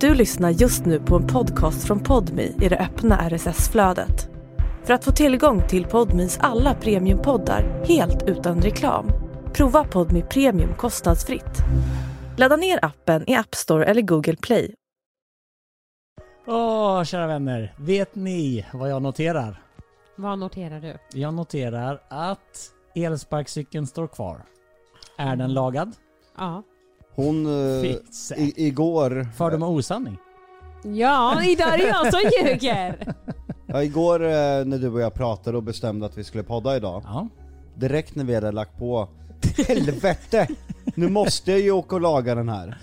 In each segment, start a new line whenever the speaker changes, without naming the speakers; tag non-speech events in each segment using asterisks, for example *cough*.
Du lyssnar just nu på en podcast från Podmi i det öppna RSS-flödet. För att få tillgång till Podmis alla premiumpoddar helt utan reklam, prova Podmi Premium kostnadsfritt. Ladda ner appen i App Store eller Google Play.
Åh, kära vänner. Vet ni vad jag noterar?
Vad noterar du?
Jag noterar att elsparkcykeln står kvar. Är den lagad?
Ja.
Hon... eh,
Fixa.
I, igår...
För de har osanning.
Ja, idag är det jag som ljuger!
Ja, igår eh, när du och jag pratade och bestämde att vi skulle podda idag.
Ja.
Direkt när vi hade lagt på. Helvete! Nu måste jag ju åka och laga den här.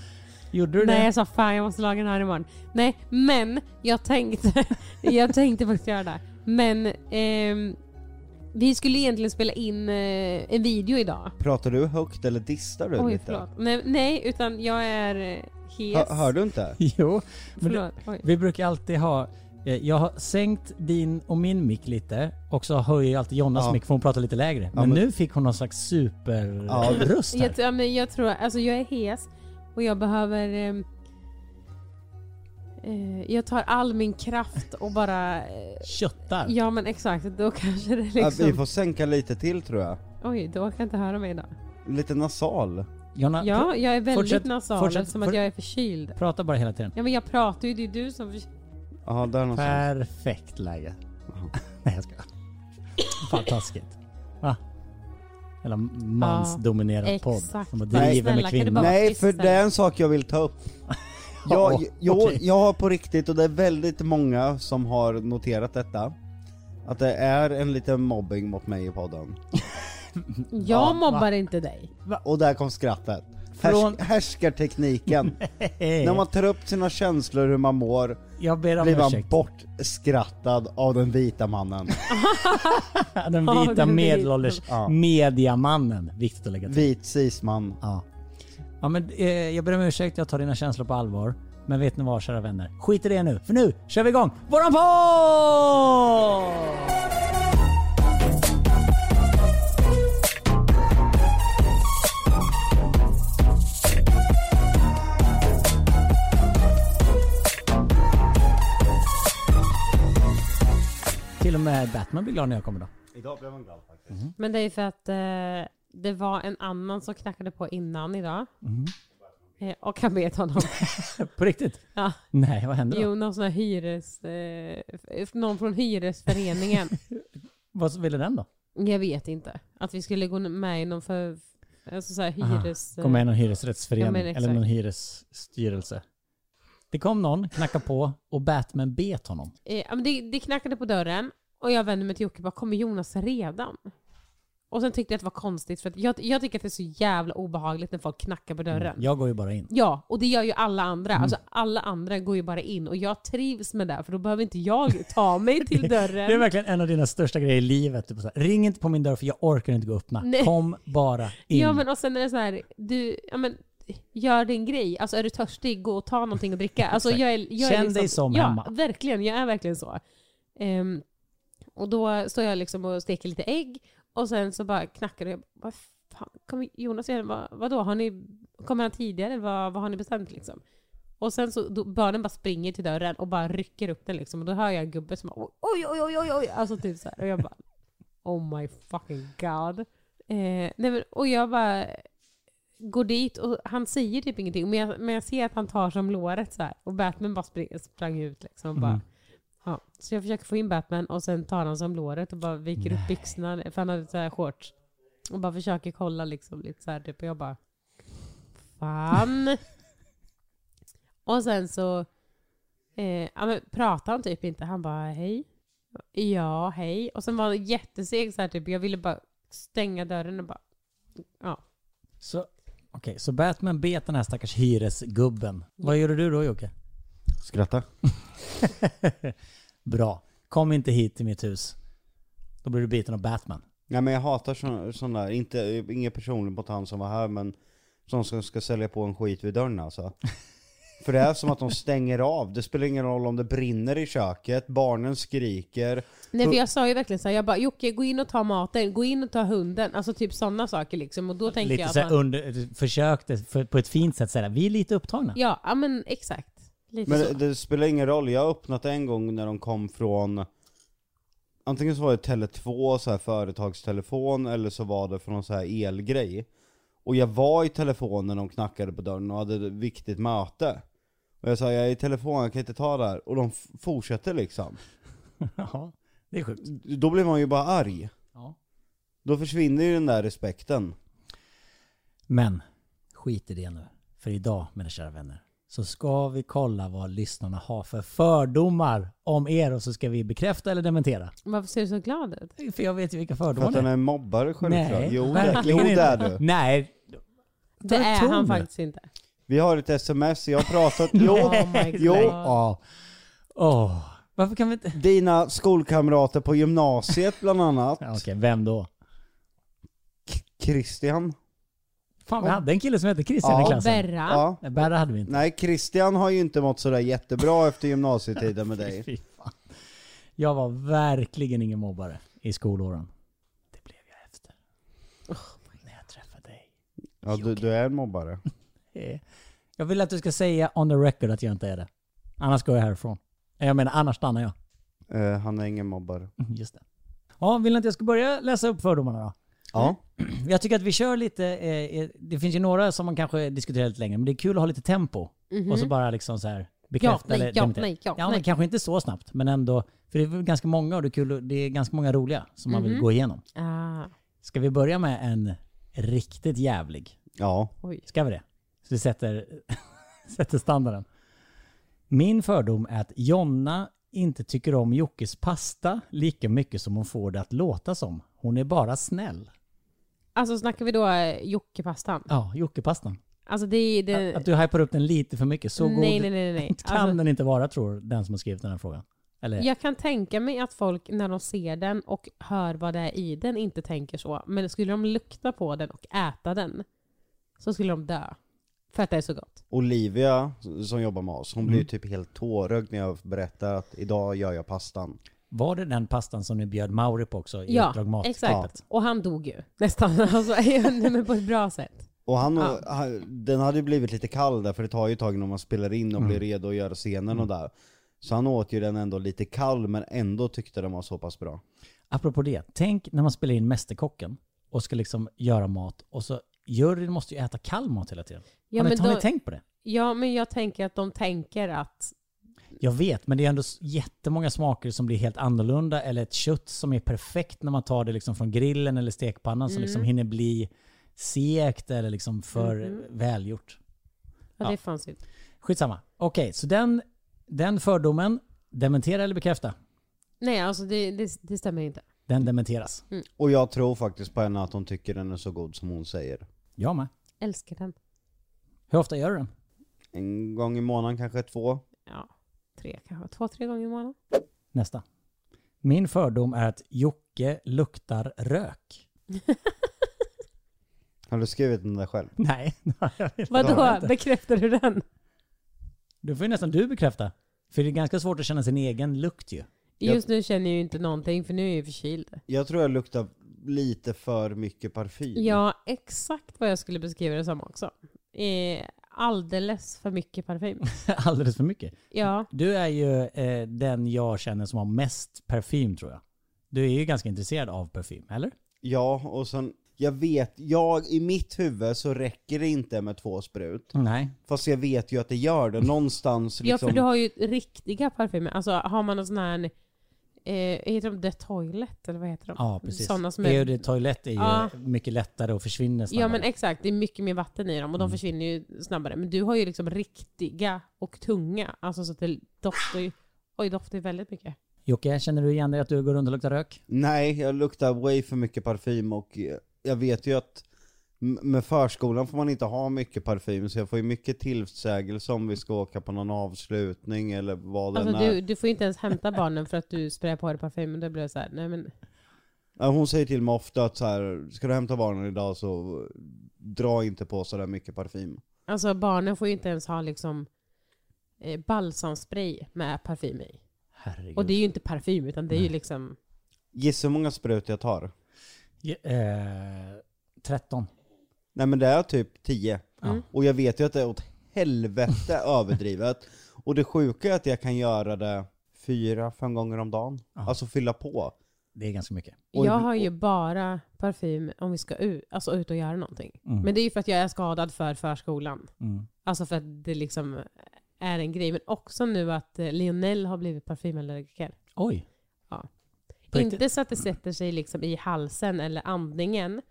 Gjorde du
Nej
det?
jag sa fan jag måste laga den här imorgon. Nej men jag tänkte, *laughs* jag tänkte faktiskt göra det. Men ehm, vi skulle egentligen spela in eh, en video idag.
Pratar du högt eller distar du
Oj
lite?
förlåt. Nej, nej utan jag är eh, hes.
Hör, hör du inte?
*laughs* Jo. Men det,
Förlåt. Oj.
vi brukar alltid ha... eh, Jag har sänkt din och min mick lite och så höjer jag alltid Jonas
Ja.
mick för hon pratar lite lägre. Men,
men-
nu fick hon någon slags
Ja, det-
superröst här.
Jag, ja, men jag tror, alltså jag är hes och jag behöver ehm, eh, jag tar all min kraft och bara... eh,
Köttar.
Ja men exakt, då kanske det
Ja,
liksom...
Vi får sänka lite till tror jag.
Oj, då kan jag inte höra mig idag.
Lite nasal.
Jonna,
Ja, jag är väldigt
fortsätt-
nasal
fortsätt-
eftersom att
fort-
jag är förkyld.
pr- prata bara hela tiden.
Ja men jag pratar ju, det är du som... förs-
Jaha, där någonstans.
Perfekt läge. *laughs* Nej jag skojar. Fan taskigt. Va? Jävla mansdominerad
Ja,
podd
exakt.
som har
Nej,
driven
snälla,
med
kan du
kvinnor.
bara-
Nej,
tyst
för
där.
det är en sak jag vill ta upp. Jag, jag,
okej.
jag har på riktigt, och det är väldigt många som har noterat detta, att det är en liten mobbing mot mig i podden.
Jag
Ja,
mobbar inte dig.
Och där kom skrattet.
Från-
Härs- härskartekniken.
Hej.
När man tar upp sina känslor, hur man mår,
Jag ber om
blir man
ursäkt.
bortskrattad av den vita mannen.
*laughs* Den
Ja,
vita
den
medelålders
vita. Ja.
mediamannen. Viktigt att lägga till.
Vit cisman.
Ja. Ja men eh, jag ber om ursäkt, jag tar dina känslor på allvar. Men vet ni vad kära vänner? Skit i det nu, för nu kör vi igång våran podd! Till och med Batman blir glad när jag kommer då.
Idag blev man glad faktiskt.
Mm.
Men det är för att eh, det var en annan som knackade på innan idag.
Mm.
Eh, och han bet
*laughs*
honom.
På riktigt?
ja.
Nej, vad händer då?
Jo, någon sån här hyres... Eh, f- någon
*laughs*
från hyresföreningen.
Vad ville den då?
jag vet inte. Att vi skulle gå med i någon för... Alltså så här
Aha.
hyres...
Kom med någon
Ja,
hyresrättsförening
men exakt.
eller någon hyresstyrelse. Det kom någon, knackade på och Batman bet honom.
Eh, ja, men det, det knackade på dörren och jag vände mig till Jocke och bara, kommer Jonas redan? Och sen tyckte jag att det var konstigt för att jag, jag tycker att det är så jävla obehagligt när folk knackar på dörren.
Jag går ju bara in.
Ja, och det gör ju alla andra. Alltså alla andra går ju bara in och jag trivs med det för då behöver inte jag ta mig till
Det är
dörren.
verkligen en av dina största grejer i livet. Typ så här, Ring inte på min dörr för jag orkar inte gå och öppna.
Nej.
Kom bara in.
Ja men och sen är det så här, du, ja men gör din grej. Alltså är du törstig, gå och ta någonting att dricka. Alltså jag är, jag är
Känn dig som
ja,
hemma.
verkligen. Jag är verkligen så. Ehm, och då står jag liksom och steker lite ägg och sen så bara knackar det. Jag bara, Vad fan, kommer Jonas igen? Vad, vadå, har ni, kommer han tidigare? Vad, vad har ni bestämt liksom? Och sen så då, barnen bara springer till dörren och bara rycker upp den liksom. Och då hör jag en gubbe som bara, oj, oj, oj, oj, oj. Alltså typ så här. Och jag bara, oh my fucking god. Eh, nej men, och jag bara går dit och han säger typ ingenting. Men jag, men jag ser att han tar som låret så här. Och Batman bara spring, sprang ut liksom. Och bara, ja. Så jag försöker få in Batman och sen tar han som låret och bara viker upp byxorna. För han hade så här shorts. Och bara försöker kolla liksom lite så här typ. Och jag bara, fan. och sen så eh, ja, men pratade han typ inte. Han bara, hej. Ja, hej. Och sen var han jätteseg så här typ. Jag ville bara stänga dörren och bara, ja.
Så, okej, så Batman bet den här stackars hyresgubben. Vad gjorde du då Jocke?
Skratta.
Bra. Kom inte hit till mitt hus. Då blir du biten av Batman.
Nej men jag hatar sån, sån där, inte, inget personligt mot han som var här men som ska, ska sälja på en skit vid dörren alltså. För det är som att de stänger av, det spelar ingen roll om det brinner i köket, barnen skriker.
Nej för jag sa ju verkligen såhär, jag bara Jocke gå in och ta maten, gå in och ta hunden. Alltså typ sådana saker liksom. Och då tänker
Lite
jag
så
att
här
han,
under, försökte för, på ett fint sätt säga vi är lite upptagna.
Ja, ja men exakt. Lite
Men
så.
det, det spelar ingen roll, jag har öppnat en gång när de kom från Antingen så var det Tele2, så här företagstelefon, eller så var det från någon så här elgrej. Och jag var i telefon när de knackade på dörren och hade ett viktigt möte. Och jag sa jag är i telefon, jag kan inte ta det här. Och de f- fortsätter liksom.
*laughs* ja, det är sjukt.
Då blir man ju bara arg.
Ja.
Då försvinner ju den där respekten.
Men skit i det nu. För idag, mina kära vänner, så ska vi kolla vad lyssnarna har för fördomar om er och så ska vi bekräfta eller dementera.
Varför ser du så glad ut?
För jag vet ju vilka
För
fördomar
att
det
den
är.
är mobbare självklart.
Nej,
jo, det, jo
verkligen
det är
inte.
du.
Nej,
Det
är
är han
tom.
faktiskt inte.
Vi har ett sms, jag har
*laughs*
pratat. Jo,
Oh my
Jo.
God.
Ja. Åh. Varför kan vi inte...
Dina skolkamrater på gymnasiet bland annat.
*laughs* Ja, Okej, vem då?
Christian.
Fan, vi hade en kille som hette Christian
Ja.
i klassen.
Berra.
Ja.
Nej, Berra hade vi inte.
Nej, Christian har ju inte mått sådär jättebra efter gymnasietiden med
*laughs*
dig.
Fy fan. Jag var verkligen ingen mobbare i skolåren. Det blev jag efter.
Oh
När jag träffade dig.
Ja, du, du är en mobbare.
Eh, Jag vill att du ska säga on the record att jag inte är det. Annars går jag härifrån. Eh, Jag menar, annars stannar jag. *laughs*
Eh, han är ingen mobbare.
Mm, Just det. Ja, vill ni att jag ska börja läsa upp fördomarna då? *clears throat*
Ja.
Jag tycker att vi kör lite, eh, eh, det finns ju några som man kanske diskuterar lite längre, men det är kul att ha lite tempo.
Mhm.
Och så bara liksom så här
ja,
bekräfta
nej,
eller
ja,
dementera.
nej, ja,
Ja, men
nej.
kanske inte så snabbt, men ändå. För det är väl ganska många och det är, kul, och- det är ganska många roliga som man vill
Mhm.
gå igenom.
Ah,
Ska vi börja med en riktigt jävlig?
Ja.
oj.
Ska vi det? Så vi sätter, *laughs* sätter standarden. Min fördom är att Jonna inte tycker om Jockes pasta lika mycket som hon får det att låta som. Hon är bara snäll.
Alltså snackar vi då eh, Jockepastan?
Ja, Jockepastan.
Alltså det är... Det...
Att, att du hypar upp den lite för mycket. Så god
nej, nej, nej, nej.
*laughs* kan
Alltså,
den inte vara tror den som har skrivit den här frågan. Eller?
Jag kan tänka mig att folk när de ser den och hör vad det är i den inte tänker så. Men skulle de lukta på den och äta den så skulle de dö. För att det är så gott.
Olivia, som jobbar med oss, hon blir ju typ helt tårögd när jag berättar att idag gör jag pastan.
Var det den pastan som ni bjöd Mauri på också i
Ja,
Uppdrag Mat?
exakt. Och han dog ju nästan. *laughs* Alltså, nej, men på ett bra sätt.
Och han,
Ja.
han- den hade ju blivit lite kall där, för det tar ju ett tag när man spelar in och blir redo att göra scenen och där. Så han åt ju den ändå lite kall, men ändå tyckte den var så pass bra.
Apropå det, tänk när man spelar in Mästerkocken och ska liksom göra mat och så juryn måste ju äta kall mat hela tiden.
Ja,
har ni,
men
har ni
då-
tänkt på det?
Ja, men jag tänker att de tänker att...
Jag vet, men det är ändå s- jättemånga smaker som blir helt annorlunda eller ett kött som är perfekt när man tar det liksom från grillen eller stekpannan som liksom hinner bli segt eller liksom för välgjort.
Ja,
Ja.
det fanns ju.
Skitsamma. Okej, så den, den fördomen, dementera eller bekräfta?
Nej, alltså det, det, det stämmer inte. Mm,
Den
Alltså.
dementeras.
Och jag tror faktiskt på henne att hon tycker den är så god som hon säger.
Jag med.
Älskar den.
Hur ofta gör du den?
En gång i månaden, kanske två.
Ja, tre kanske. Två, tre gånger i månaden.
Nästa. Min fördom är att Jocke luktar rök. *laughs*
Har du skrivit den där själv?
Nej, *laughs* jag
*laughs*
vet
Ja,
Vadå? Bekräftar du den?
Det får ju nästan du bekräfta. För det är ganska svårt att känna sin egen lukt ju. *laughs*
Jag-
Just nu känner jag ju inte någonting för nu är jag ju förkyld.
Jag tror jag luktar lite för mycket parfym.
Ja, exakt vad jag skulle beskriva det som också. Eh, alldeles för mycket parfym.
Alldeles för mycket.
Ja,
Du är ju eh, den jag känner som har mest parfym tror jag. Du är ju ganska intresserad av parfym, eller?
Ja, och sen, jag vet, jag, i mitt huvud så räcker det inte med två sprut.
Nej.
Fast jag vet ju att det gör det någonstans
*laughs* ja
liksom.
för du har ju riktiga parfymer. Alltså har man en sån här, eh, heter de The Toilet eller vad heter de?
Ja, precis.
Sådana som
är...
är...
Eau de toilette är ju
Ja.
mycket lättare och försvinner snabbare.
Ja men exakt, det är mycket mer vatten i dem och de försvinner ju snabbare. Men du har ju liksom riktiga och tunga. Alltså så att det doftar ju, oj doftar ju väldigt mycket.
Jocke, känner du igen dig att du går runt och luktar rök?
Nej, jag luktar way för mycket parfym och eh, jag vet ju att m- med förskolan får man inte ha mycket parfym så jag får ju mycket tillsägelse om vi ska åka på någon avslutning eller vad det
Alltså
är.
du, du får ju inte ens hämta barnen för att du sprayar på dig parfymen. Då blir det så här, nej men
Ja, Hon säger till mig ofta att så här, ska du hämta barnen idag så dra inte på sådär mycket parfym.
Alltså barnen får ju inte ens ha liksom eh, balsamspray med parfym i.
Herregud.
Och det är ju inte parfym utan det är ju liksom...
Gissa hur många sprut jag tar?
Ja, eh, 13.
Nej men det är typ 10.
Ja.
Mm.
*laughs*
Och jag vet ju att det är åt helvete överdrivet. Och det sjuka är att jag kan göra det fyra, fem gånger om dagen.
Ja.
Alltså fylla på.
Det är ganska mycket.
Och-
jag har ju bara parfym om vi ska ut, alltså ut och göra någonting.
Mm.
Men det är ju för att jag är skadad för förskolan.
Mm.
Alltså för att det liksom är en grej. Men också nu att eh, Lionel har blivit parfymallergiker.
Oj.
Ja.
På riktigt?
Inte så att det sätter sig liksom i halsen eller andningen,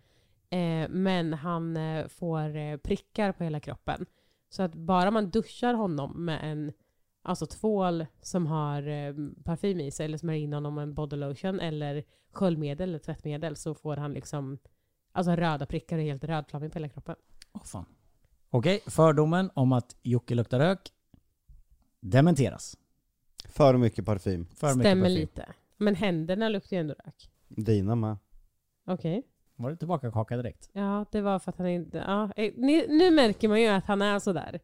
eh, men han eh, får eh, prickar på hela kroppen. Så att bara man duschar honom med en alltså tvål som har eh, parfym i sig, eller smörjer in honom med en body lotion, eller sköljmedel eller tvättmedel, så får han liksom alltså röda prickar och helt rödflammig på hela kroppen.
Åh fan. Okej, fördomen om att Jocke luktar rök dementeras.
För mycket parfym.
För mycket
Stämmer
parfym.
lite. Men händerna luktar ju ändå rök.
Dina med.
Okej.
Var det tillbaka kaka direkt?
Ja, det var för att han inte... Ja, eh, ni, nu märker man ju att han är sådär.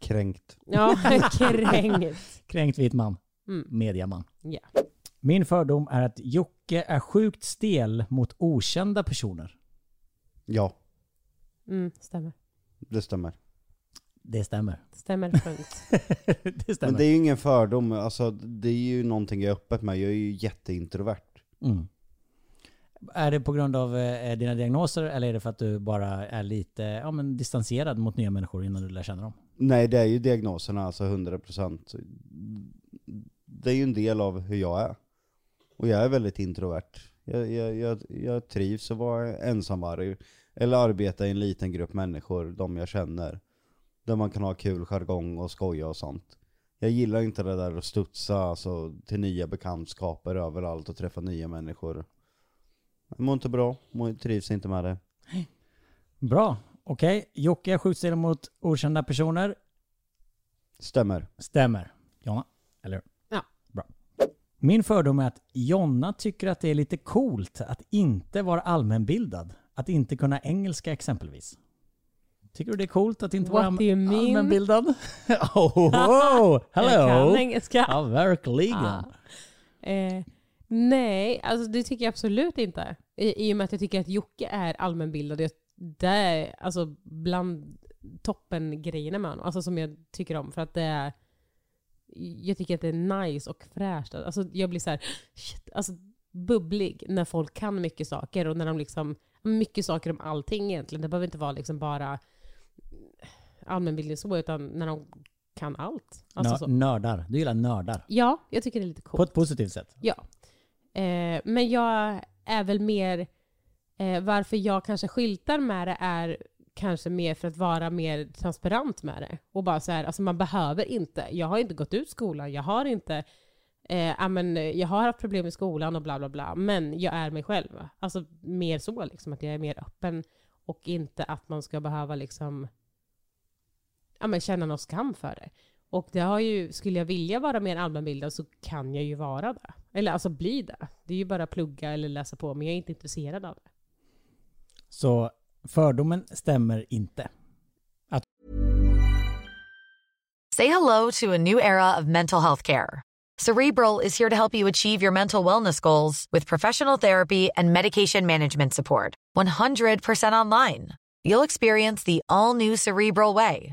Kränkt.
Ja, *laughs* kränkt.
Kränkt vit man.
Mm.
Mediaman.
Ja.
Min fördom är att Jocke är sjukt stel mot okända personer.
Ja,
Mm, stämmer.
det stämmer.
Det stämmer. *laughs*
Stämmer, punkt.
det stämmer.
Men det är ju ingen fördom. Alltså det är ju någonting jag är öppet med. Jag är ju jätteintrovert.
Mm. Är det på grund av eh, dina diagnoser eller är det för att du bara är lite ja, men distanserad mot nya människor innan du lär känna dem?
Nej, det är ju diagnoserna, alltså 100%. Det är ju en del av hur jag är. Och jag är väldigt introvert. Jag, jag, jag, jag trivs att vara ensamvarg. Eller arbeta i en liten grupp människor, de jag känner. Där man kan ha kul jargong och skoja och sånt. Jag gillar inte det där att studsa alltså, till nya bekantskaper överallt och träffa nya människor. Jag mår inte bra, mår, trivs inte med det.
Bra, okej. Jocke är sjukt stel mot okända personer.
Stämmer.
Stämmer. Jonna, eller hur?
Ja.
Bra. Min fördom är att Jonna tycker att det är lite coolt att inte vara allmänbildad. Att inte kunna engelska exempelvis. Tycker du det är coolt att inte vara
What do you
allm-
mean?
allmänbildad? *laughs* oh, oh,
*laughs* Jag
hello!
kan Ah, engelska.
Ja, verkligen.
Eh, nej, alltså det tycker jag absolut inte. I, I och med att jag tycker att Jocke är allmänbildad. Jag, det är alltså bland toppengrejerna med honom. Alltså som jag tycker om. För att det är... Jag tycker att det är nice och fräscht. Alltså jag blir så här, shit, alltså bubblig när folk kan mycket saker. Och när de liksom, mycket saker om allting egentligen. Det behöver inte vara liksom bara allmänbildning så, utan när de kan allt. Alltså
Nö-
så.
Nördar. Du gillar nördar.
Ja, jag tycker det är lite coolt.
På ett positivt sätt.
Ja. Eh, men jag är väl mer, eh, varför jag kanske skyltar med det är kanske mer för att vara mer transparent med det. Och bara så här, alltså man behöver inte, jag har inte gått ut skolan, jag har inte, eh, ja, men, eh, jag har haft problem i skolan och bla bla bla, men jag är mig själv. Alltså mer så liksom, att jag är mer öppen och inte att man ska behöva liksom, ja men känna någon skam för det. Och det har ju, skulle jag vilja vara mer allmänbildad så kan jag ju vara det. Eller alltså bli det. Det är ju bara att plugga eller läsa på, men jag är inte intresserad av det.
Så fördomen stämmer inte.
Say hello to a new era of mental health care. Cerebral is here to help you achieve your mental wellness goals with professional therapy and medication management support. 100% online. You'll experience the all new Cerebral Way,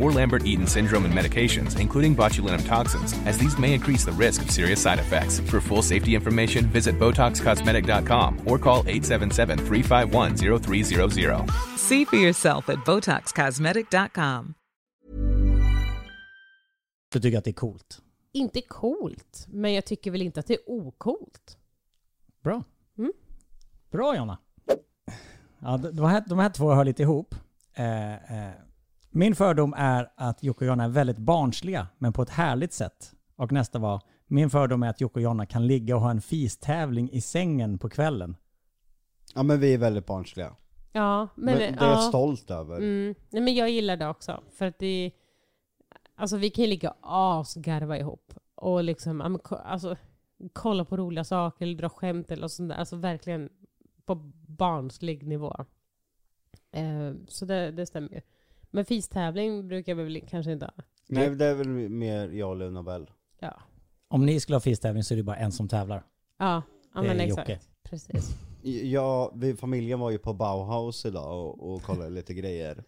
or Lambert-Eaton syndrome and medications, including botulinum toxins, as these may increase the risk of serious side effects. For full safety information, visit BotoxCosmetic.com or call 877-351-0300.
See for yourself at BotoxCosmetic.com.
Du tycker att det är coolt.
Inte coolt, men jag tycker väl inte att det är ocoolt.
Bra.
Mm.
Bra Jonna. Ja, d- de, här, de här två hör lite ihop. Eh, eh, min fördom är att Jocke och Jonna är väldigt barnsliga, men på ett härligt sätt. Och nästa var, min fördom är att Jocke och Jonna kan ligga och ha en fistävling i sängen på kvällen.
Ja men vi är väldigt barnsliga.
Ja, men...
Men, det är
ja.
jag stolt över.
Mm. Nej, men jag gillar det också. För att det... Alltså vi kan ju ligga och asgarva ihop. Och liksom, ja, men ko- alltså, kolla på roliga saker eller dra skämt eller sånt där. Alltså verkligen på barnslig nivå. Eh, så det, det stämmer ju. Men fistävling brukar vi väl kanske inte ha.
Nej det är väl mer jag och Luna Bell.
Ja,
Om ni skulle ha fistävling så är det bara en som tävlar.
ja, ja
Det är
men exakt.
Eh, Jocke.
Precis.
Ja, vi, familjen var ju på Bauhaus idag och, och kollade lite grejer.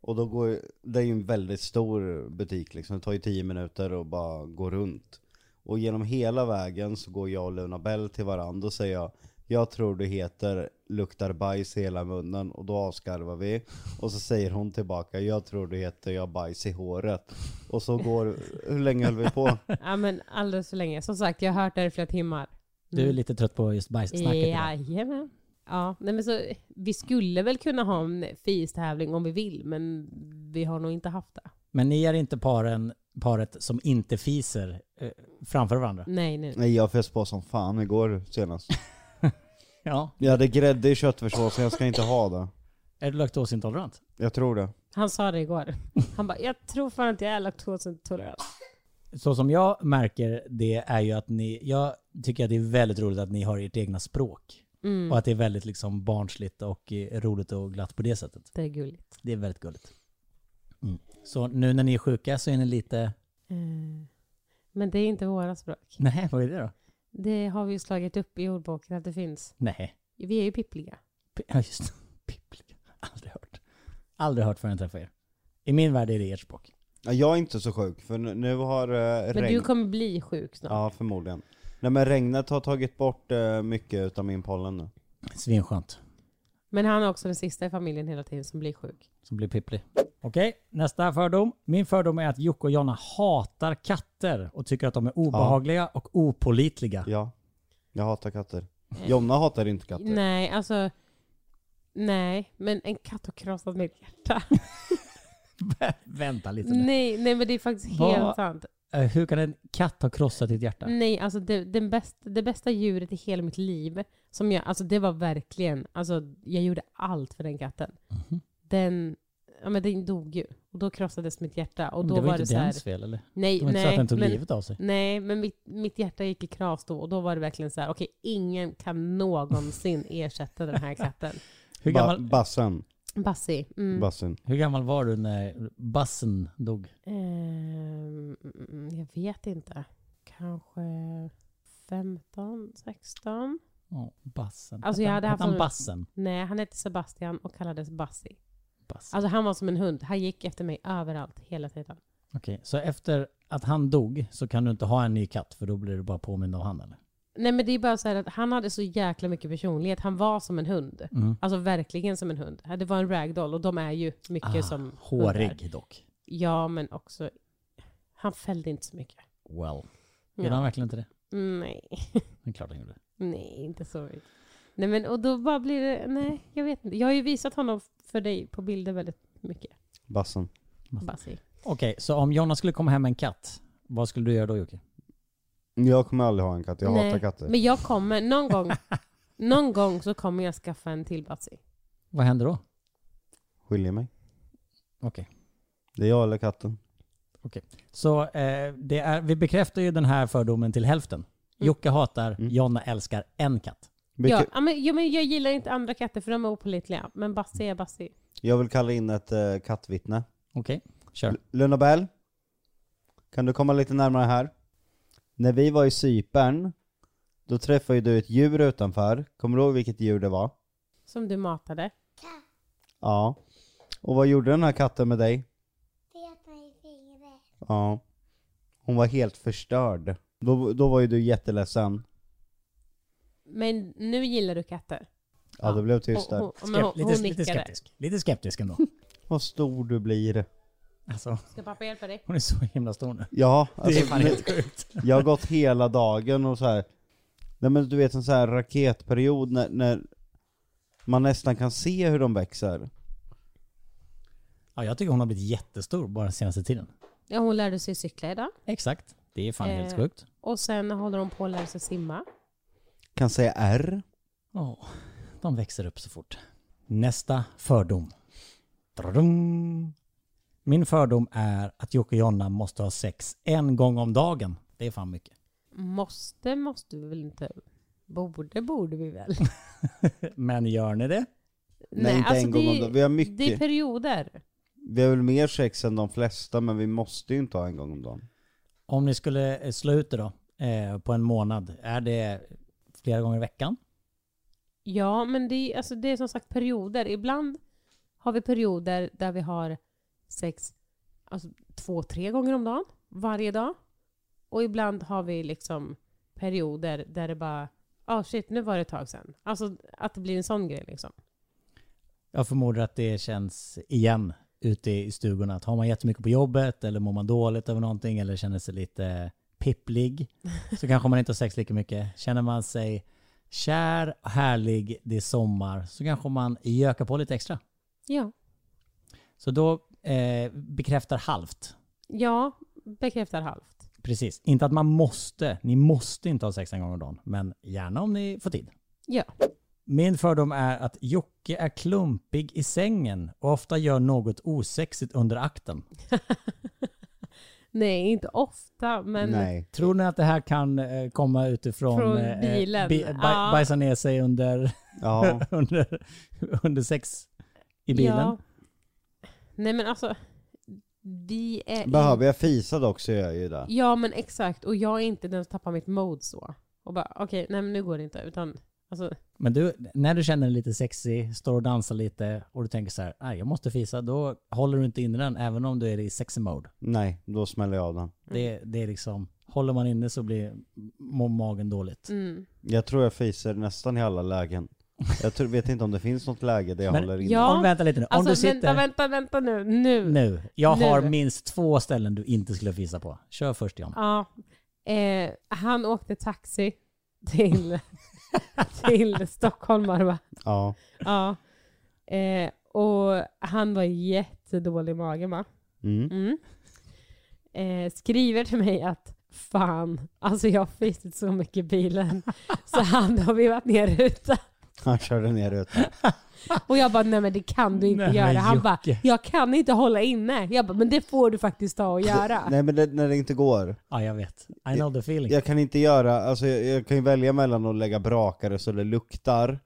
Och då går, det är ju en väldigt stor butik liksom, det tar ju 10 minuter och bara gå runt. Och genom hela vägen så går jag och Luna Bell till varandra och säger jag jag tror du heter luktar bajs i hela munnen och då avskarvar vi och så säger hon tillbaka jag tror du heter jag har bajs i håret och så går, hur länge höll vi på?
Ja men alldeles för länge. Som sagt, jag har hört det här i flera timmar.
Du är
Mm.
lite trött på just bajssnacket idag.
Jajamän. Ja, nej men så, vi skulle väl kunna ha en FIS-tävling om vi vill, men vi har nog inte haft det.
Men ni är inte paren, paret som inte fiser eh, framför varandra?
Nej, nej.
Nej jag fes på som fan igår senast.
Ja.
Jag hade grädde i köttfärssåsen, jag ska inte ha det.
Är du laktosintolerant?
Jag tror det.
Han sa det igår. Han bara, jag tror fan inte jag är laktosintolerant.
Så som jag märker det är ju att ni, jag tycker att det är väldigt roligt att ni har ert egna språk. Och att det är väldigt liksom barnsligt och eh, roligt och glatt på det sättet.
Det är gulligt.
Det är väldigt gulligt. Mm. Så nu när ni är sjuka så är ni lite,
Eh, Men det är inte våra språk.
nej vad är det då?
Det har vi ju slagit upp i ordboken att det finns.
Nej,
Vi är ju pippliga.
P- ja just det. *laughs* Bibliga. Aldrig hört. Aldrig hört förrän jag träffade er. I min värld är det ert språk.
Ja, Jag är inte så sjuk, för nu, nu har eh,
Men
regn...
du kommer bli sjuk snart.
Ja, förmodligen. Nej men regnet har tagit bort eh, mycket utav min pollen nu.
Svinskönt.
Men han är också den sista i familjen hela tiden som blir sjuk.
som blir pipplig. Okej, nästa fördom. Min fördom är att Jocke och Jonna hatar katter och tycker att de är obehagliga och opålitliga.
Ja. Jag hatar katter. Jonna hatar inte katter.
Eh. Nej, alltså. Nej, men en katt har krossat mitt hjärta.
*laughs* Vänta lite nu.
Nej, nej men det är faktiskt
Vad-
helt sant.
Eh, Hur kan en katt ha krossat ditt hjärta?
Nej, alltså det, den bästa, det bästa djuret i hela mitt liv, som jag, alltså det var verkligen, alltså jag gjorde allt för den katten.
Mhm.
Den, ja men den dog ju. Och då krossades mitt hjärta. Och
Men
då
det var,
det
inte
så här,
dens fel eller?
nej,
Det var inte så
nej,
att den tog
men,
livet av sig.
Nej, men mitt, mitt hjärta gick i kras då. Och då var det verkligen så här, okej, ingen kan någonsin
*laughs*
ersätta den här katten.
Hur
Ba-
gammal,
bassen.
Bassi. Mm.
Bassen.
hur gammal var du när bassen dog?
Ehm, mm, jag vet inte. Kanske 15, 16?
Oh, bassen. Hette
Alltså, jag
han-
hade
hette
haft
han
en-
bassen?
Nej, han hette Sebastian och kallades Bassi.
bassen.
Alltså han var som en hund. Han gick efter mig överallt hela tiden.
Okej, så efter att han dog så kan du inte ha en ny katt för då blir du bara påmind av han eller?
Nej men det är bara så här att han hade så jäkla mycket personlighet. Han var som en hund.
Mm.
Alltså verkligen som en hund. Det var en ragdoll och de är ju mycket
Ah,
som hundar.
hårig dock.
Ja men också, han fällde inte så mycket.
Well.
Ja.
Gjorde han verkligen inte det?
Nej,
Det är klart han gjorde.
nej inte så mycket. Nej men och då bara blir det, nej jag vet inte. Jag har ju visat honom för dig på bilder väldigt mycket.
Bassen.
Bassi.
Okej, så om Jonna skulle komma hem med en katt, vad skulle du göra då Jocke?
Jag kommer aldrig ha en katt, jag
Nej,
hatar katter.
Men jag kommer, någon
*laughs*
gång, någon gång så kommer jag skaffa en till Bassi.
Vad händer då?
Skiljer mig.
Okej.
Det är jag eller katten.
Så eh, det är, vi bekräftar ju den här fördomen till hälften. Jocke hatar, Jonna älskar en katt.
Ja,
Vilket-
ja, men, ja, men jag gillar inte andra katter för de är opålitliga. Men Bassi är Bassi.
Jag vill kalla in ett eh, kattvittne.
Okej, kör.
L- Lunabell, kan du komma lite närmare här? När vi var i Cypern, då träffade ju du ett djur utanför. Kommer du ihåg vilket djur det var?
Som du matade.
Ja. Och vad gjorde den här katten med dig?
bet mig i fingret.
Ja. Hon var helt förstörd. Då, då var ju du jätteledsen.
Men nu gillar du katter.
Ja, det blev tyst
Och-
där.
och- men hon,
Skep-
hon
lite, lite
nickade.
skeptisk. Lite skeptisk ändå.
Vad stor du blir.
Alltså,
Ska pappa hjälpa dig?
hon är så himla stor nu.
Ja,
Det är
alltså,
fan
nu,
helt sjukt.
jag har gått hela dagen och så här. Nej men du vet en sån här raketperiod när, när man nästan kan se hur de växer.
Ja, jag tycker hon har blivit jättestor bara den senaste tiden.
Ja, hon lärde sig cykla idag.
Exakt. Det är fan helt
Eh.
sjukt.
Och sen håller hon på att lära sig simma.
Kan säga R.
Ja, de växer upp så fort. Nästa fördom. Tradum. Min fördom är att Jocke och Jonna måste ha sex en gång om dagen. Det är fan mycket.
Måste, måste vi väl inte? Borde, borde vi väl?
*laughs* Men gör ni det?
*laughs* Nej, inte en gång
Alltså, det,
om dagen. Vi har mycket.
Det är perioder.
Vi har väl mer sex än de flesta men vi måste ju inte ha en gång om dagen.
Om ni skulle eh, slå ut det då eh, på en månad, är det flera gånger i veckan?
Ja, men det, är- alltså, det är som sagt perioder. Ibland har vi perioder där vi har sex alltså, två, tre gånger om dagen. Varje dag. Och ibland har vi liksom perioder där det bara ah shit, nu var det ett tag sedan. Alltså att det blir en sån grej liksom.
Jag förmodar att det känns igen ute i stugorna. Att har man jättemycket på jobbet eller mår man dåligt över någonting eller känner sig lite pipplig så kanske man inte har sex lika mycket. Känner man sig kär, härlig, det är sommar så kanske man gökar på lite extra.
Ja.
Så då eh, bekräftar halvt.
Ja, bekräftar halvt.
Precis. Inte att man måste. Ni måste inte ha sex en gång om dagen. Men gärna om ni får tid.
Ja.
Min fördom är att Jocke är klumpig i sängen och ofta gör något osexigt under akten.
Nej, inte ofta, men
Nej.
Tror ni att det här kan eh, komma utifrån
Från
eh,
bilen,
bi- baj-
ja.
bajsa ner sig under,
Ja.
*laughs* under, under sex i bilen?
Ja. Nej men alltså, vi är...
Behöver jag fisa dock så gör jag ju det.
Ja men exakt, och jag är inte den som tappar mitt mode så. Och bara okej, nej men nu går det inte. Utan alltså,
Men du, när du känner dig lite sexy, står och dansar lite och du tänker så här, "Aj, jag måste fisa, då håller du inte inne den även om du är i sexy mode.
Nej, då smäller jag av den.
Det, det är liksom, håller man inne så blir mår magen dåligt.
mm.
Jag tror jag fiser nästan i alla lägen. Jag tror, vet inte om det finns något läge där jag
Men-
håller in.
Ja.
Om, vänta lite nu, om
alltså
du sitter...
vänta, vänta, vänta nu. Nu.
Nu. Jag har
Nu.
minst två ställen du inte skulle fisa på. Kör först John.
Ja. Eh, han åkte taxi till, *laughs* till Stockholmare va?
Ja. *laughs*
Ja. Eh, och han var jättedålig i magen va?
Mm.
Mm. Eh, skriver till mig att fan, alltså jag har fisit så mycket i bilen så han har vevat ner rutan.
Han körde ner rutan.
Och jag bara, nej men det kan du inte
Nej,
göra.
men
Han bara,
Jocke.
jag kan inte hålla inne. Jag bara, men det får du faktiskt
*laughs*
ta och göra.
Nej men det, när det inte går.
Ja, jag vet. I know the feeling.
Jag kan inte göra, alltså jag, jag kan ju välja mellan att lägga brakare så det luktar,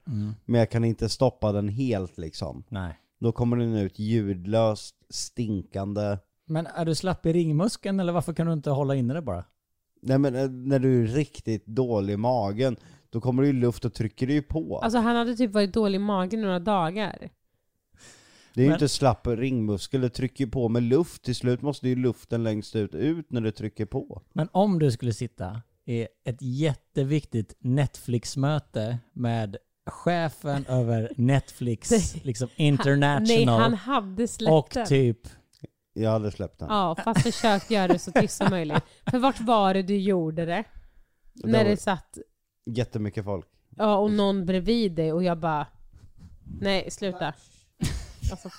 men jag kan inte stoppa den helt liksom.
Nej.
Då kommer den ut ljudlöst, stinkande.
Men är du slapp i ringmuskeln eller varför kan du inte hålla inne det bara?
Nej men eh, när du är riktigt dålig i magen, då kommer det ju luft och trycker det ju på.
Alltså han hade typ varit dålig i magen några dagar.
det är ju
men-
inte slapp ringmuskel, det trycker ju på med luft. Till slut måste ju luften längst ut ut när det trycker på.
Men om du skulle sitta i ett jätteviktigt Netflix-möte med *laughs* chefen över Netflix,
Nej.
liksom
Han, nej,
international
han hade släppt
och
den.
typ
Jag hade släppt den.
Ja, fast försökt göra det så tyst som möjligt. För vart var det du gjorde det?
Det
När
var-
det satt,
Jättemycket folk.
ja och någon bredvid dig och jag bara, nej
*laughs*
sluta. Alltså,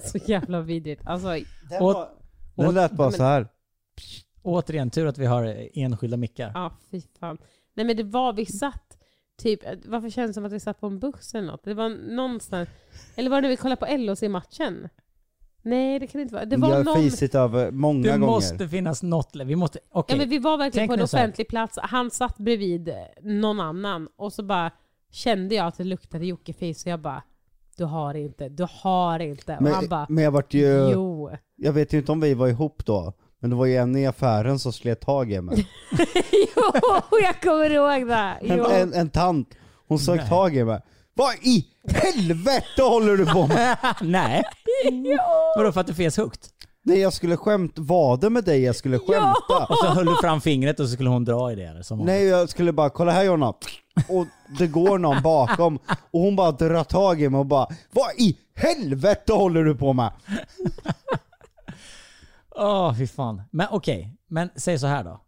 *laughs* så jävla vidrigt. Alltså,
Den,
Och-
var, den lät bara så här.
återigen tur att vi har enskilda mickar.
Ja, fy fan. Nej men det var, vi satt typ, varför känns det som att vi satt på en buss eller något? Det var någonstans, eller var det när vi kollade på LOC i matchen? Nej det kan det inte vara. Det
jag
var
har
någon...
fisit över många
Det
gånger.
måste finnas något. Vi måste... Okej.
Ja, men vi var
Tänk
verkligen på en
nu så här.
offentlig plats. Han satt bredvid eh, någon annan och så bara kände jag att det luktade Jockefis och jag bara du har inte, du har inte. Och han bara
Men, men jag vart ju...
jo. *laughs*
Jag vet ju inte om vi var ihop då. Men det var ju en i affären som slet tag
*laughs*
i mig.
jo, jag kommer ihåg det.
En,
Jo.
en, en tant. Hon sög tag i mig. Vad i helvete håller du på med?
Nej. Vadå för att det fes högt?
Nej jag skulle skämt Var det med dig jag skulle skämta?
Och så höll
*laughs*
du fram fingret och så skulle hon dra i det eller? Som hon-
Nej jag skulle bara, kolla här Jonna. Och det går någon bakom. Och hon bara drar tag i mig och bara, vad i helvete håller du på med?
Åh, fy fan. Men okej, men säg så här då.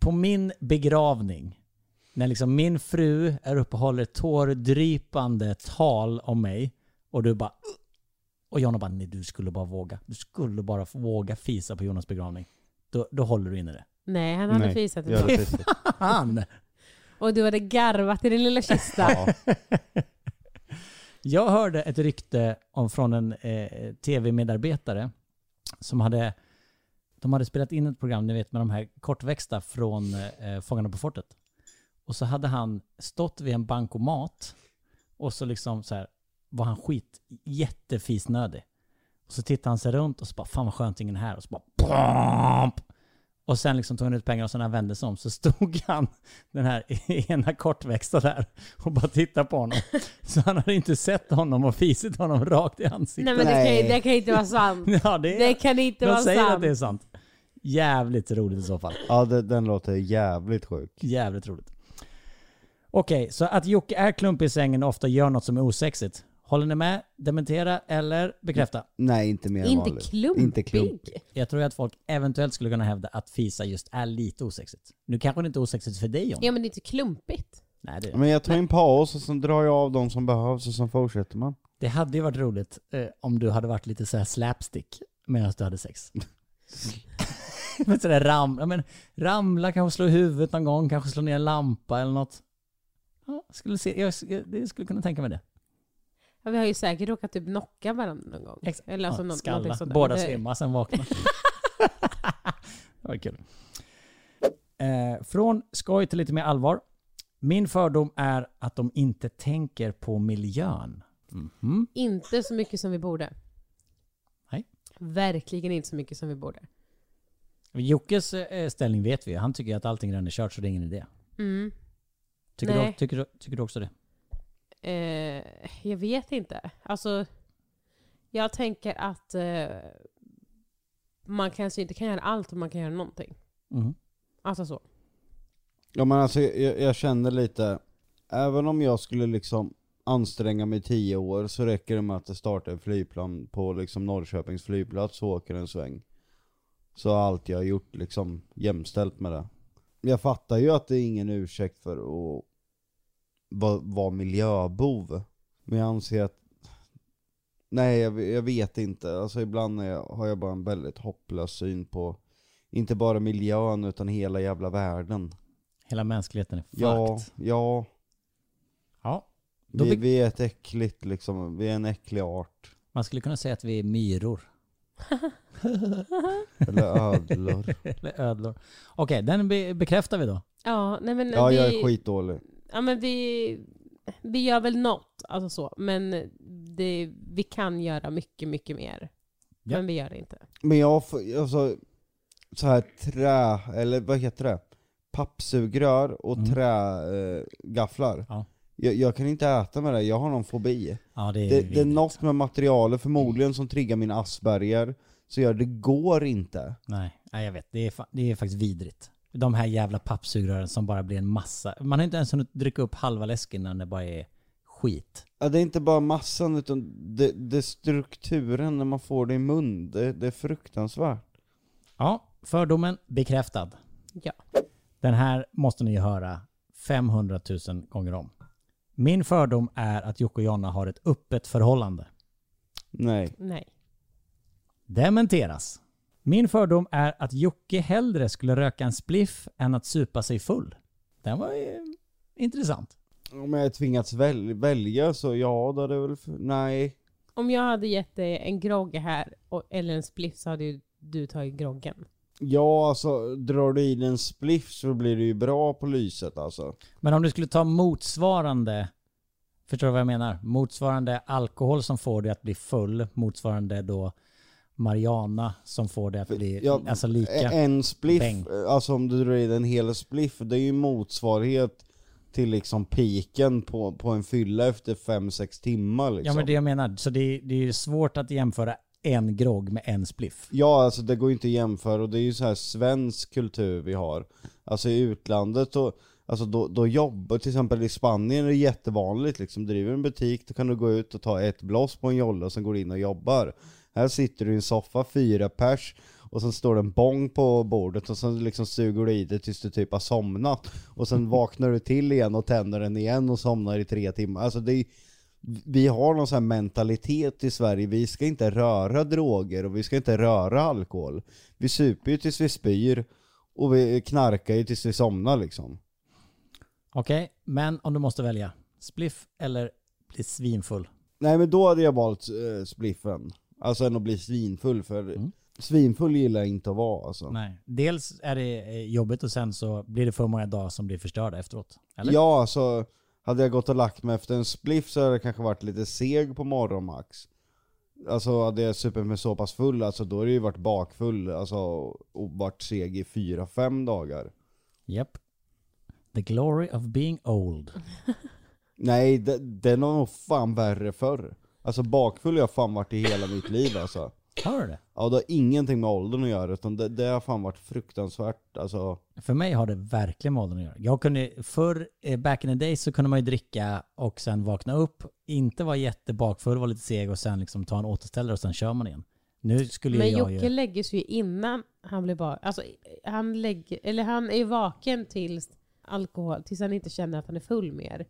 På min begravning, när liksom min fru är uppe och håller tårdrypande tal om mig och du bara... Och Jonna bara, nej du skulle bara våga. Du skulle bara få våga fisa på Jonas begravning. Då, då håller du inne
*laughs*
det.
Nej, han hade
Nej,
fisat.
jag hade fisit.
Han!
Och du hade garvat i din lilla kista.
Jag hörde ett rykte om, från en eh, tv-medarbetare som hade, de hade spelat in ett program, ni vet med de här kortväxta från eh, Fångarna på fortet. Och så hade han stått vid en bankomat och så liksom så här var han skit jättefisnödig. Och så tittade han sig runt och så bara fan vad skönt ingen är här och så bara Pomp! Och sen liksom tog han ut pengar och sen när han vände sig om så stod *laughs* han, den här *laughs* ena kortväxta där, och bara tittade på
*laughs*
honom. Så han hade inte sett honom och fisit honom rakt i ansiktet.
Nej men det kan, ju, det kan ju inte vara
*laughs*
sant.
Ja, det, är,
Det kan inte
de
vara
säger
sant.
att det är sant. Jävligt roligt i så fall.
Ja det, den låter jävligt sjuk.
Jävligt roligt. Okej, så att Jocke är klumpig i sängen och ofta gör något som är osexigt. Håller ni med? Dementera eller bekräfta?
Nej inte mer än
Inte
vanligt.
klumpig.
Inte klumpig.
Jag tror ju att folk eventuellt skulle kunna hävda att fisa just är lite osexigt. Nu kanske det inte är osexigt för dig John.
Ja men det är inte klumpigt.
Nej, det,
Men jag tar en paus och sen drar jag av de som behövs och sen fortsätter man.
det hade ju varit roligt eh, om du hade varit lite så här slapstick medan du hade
*laughs*
sex. men sådär ramla, men ramla, kanske slå i huvudet någon gång, kanske slå ner en lampa eller något. Ja, skulle se, jag, jag skulle kunna tänka mig det.
Ja, vi har ju säkert råkat typ knocka varandra någon gång.
Exakt.
Eller alltså
Ja,
något,
skalla.
någonting sånt där.
Båda
Det-
svimmar, sen
*laughs*
vaknar. det var kul. Eh, från skoj till lite mer allvar. Min fördom är att de inte tänker på miljön.
Mm-hmm.
Mhm.
Inte så mycket som vi borde.
Nej.
Verkligen inte så mycket som vi borde.
Jockes eh, ställning vet vi ju. Han tycker ju att allting redan är kört så det är ingen idé.
Mm.
Tycker,
Nej.
du, tycker, du, tycker du också det?
Eh, jag vet inte. Alltså, jag tänker att eh, man kanske inte kan göra allt och man kan göra någonting.
Mm.
Mhm.
Alltså så.
Ja men alltså jag, jag känner lite, även om jag skulle liksom anstränga mig i tio år så räcker det med att det startar en flygplan på liksom Norrköpings flygplats och åker en sväng. Så har allt jag har gjort liksom jämställt med det. Jag fattar ju att det är ingen ursäkt för att vara vara miljöbov. Men jag anser att, nej jag, jag vet inte. Alltså ibland är jag, har jag bara en väldigt hopplös syn på, inte bara miljön utan hela jävla världen.
Hela mänskligheten är
Ja,
fucked.
ja.
Ja. Då
Vi,
be-
vi är ett äckligt liksom, vi är en äcklig art.
Man skulle kunna säga att vi är myror. *laughs*
Eller ödlor.
Eller ödlor. Okej, den be- bekräftar vi då.
Ja, nej men
Ja
vi,
jag är skitdålig.
ja, men vi, vi gör väl något. Alltså så. Men det, vi kan göra mycket, mycket mer.
Ja.
Men vi gör det inte.
Men jag får, alltså, så här trä, eller vad heter det? Pappsugrör och
Mm.
trägafflar. Eh, gafflar.
Ja.
jag, jag kan inte äta med det, jag har någon fobi.
Ja, det är,
Det, det är
vidrigt.
något med materialet förmodligen som triggar min asperger, så jag, det går inte.
Nej, nej jag vet. Det är, fa- det är faktiskt vidrigt. De här jävla pappsugrören som bara blir en massa. Man har inte ens hunnit dricka upp halva läsken innan det bara är skit.
Ja, det är inte bara massan utan det, det är strukturen när man får det i mun, det, det är fruktansvärt.
Ja, fördomen bekräftad.
Ja.
Den här måste ni ju höra 500 000 gånger om. Min fördom är att Jocke och Jonna har ett öppet förhållande.
Nej.
Nej.
Dementeras. Min fördom är att Jocke hellre skulle röka en spliff än att supa sig full. Den var ju intressant.
Om jag tvingats väl, välja så ja, då hade jag väl... f- Nej.
Om jag hade gett dig en grogg här, och, eller en spliff, så hade ju du tagit groggen.
Ja alltså, drar du i en spliff så blir du ju bra på lyset alltså.
Men om du skulle ta motsvarande, förstår du vad jag menar? Motsvarande alkohol som får dig att bli full, motsvarande då Mariana som får dig att bli,
Ja,
alltså lika.
En spliff,
Bäng.
alltså om du drar i en hel spliff, det är ju motsvarighet till liksom piken på, på en fylla efter 5-6 timmar liksom.
ja men det jag menar, så det, det är ju svårt att jämföra en grogg med en spliff.
Ja, alltså det går ju inte att jämföra och det är ju så här svensk kultur vi har. Alltså i utlandet och Alltså då, då jobbar, till exempel i Spanien är det jättevanligt liksom, driver du en butik då kan du gå ut och ta ett blås på en jolle och sen går du in och jobbar. Här sitter du i en soffa, fyra pers, och sen står det en bong på bordet och sen liksom suger du i det tills du typ har somnat. Och sen vaknar du till igen och tänder den igen och somnar i tre timmar. Alltså det är, vi har någon sån här mentalitet i Sverige, vi ska inte röra droger och vi ska inte röra alkohol. Vi super ju tills vi spyr och vi knarkar ju tills vi somnar liksom.
Okej, men om du måste välja, spliff eller bli svinfull?
Nej men då hade jag valt eh, spliffen. Alltså än att bli svinfull för svinfull gillar jag inte att vara alltså.
Mm. Nej. Dels är det eh, jobbigt och sen så blir det för många dagar som blir förstörda efteråt. Eller?
Ja alltså, hade jag gått och lagt mig efter en spliff så hade jag kanske varit lite seg på morgonen max. Alltså hade jag supit mig så pass full, alltså då har det ju varit bakfull alltså, och varit seg i fyra fem dagar.
Japp. The glory of being old.
Nej, det- den var nog fan värre förr. Alltså bakfull har jag fan varit i hela mitt liv alltså.
Hör du det?
Ja, det har ingenting med åldern att göra utan det, det har fan varit fruktansvärt alltså.
För mig har det verkligen med åldern att göra. Jag kunde, förr, eh, back in the day, så kunde man ju dricka och sen vakna upp, inte vara jättebakfull, vara lite seg och sen liksom ta en återställare och sen kör man igen. Nu skulle
Men
jag
Jocke
ju...
lägger sig ju innan han blir bar. Alltså, han, lägger, eller han är ju vaken tills alkohol, tills han inte känner att han är full mer.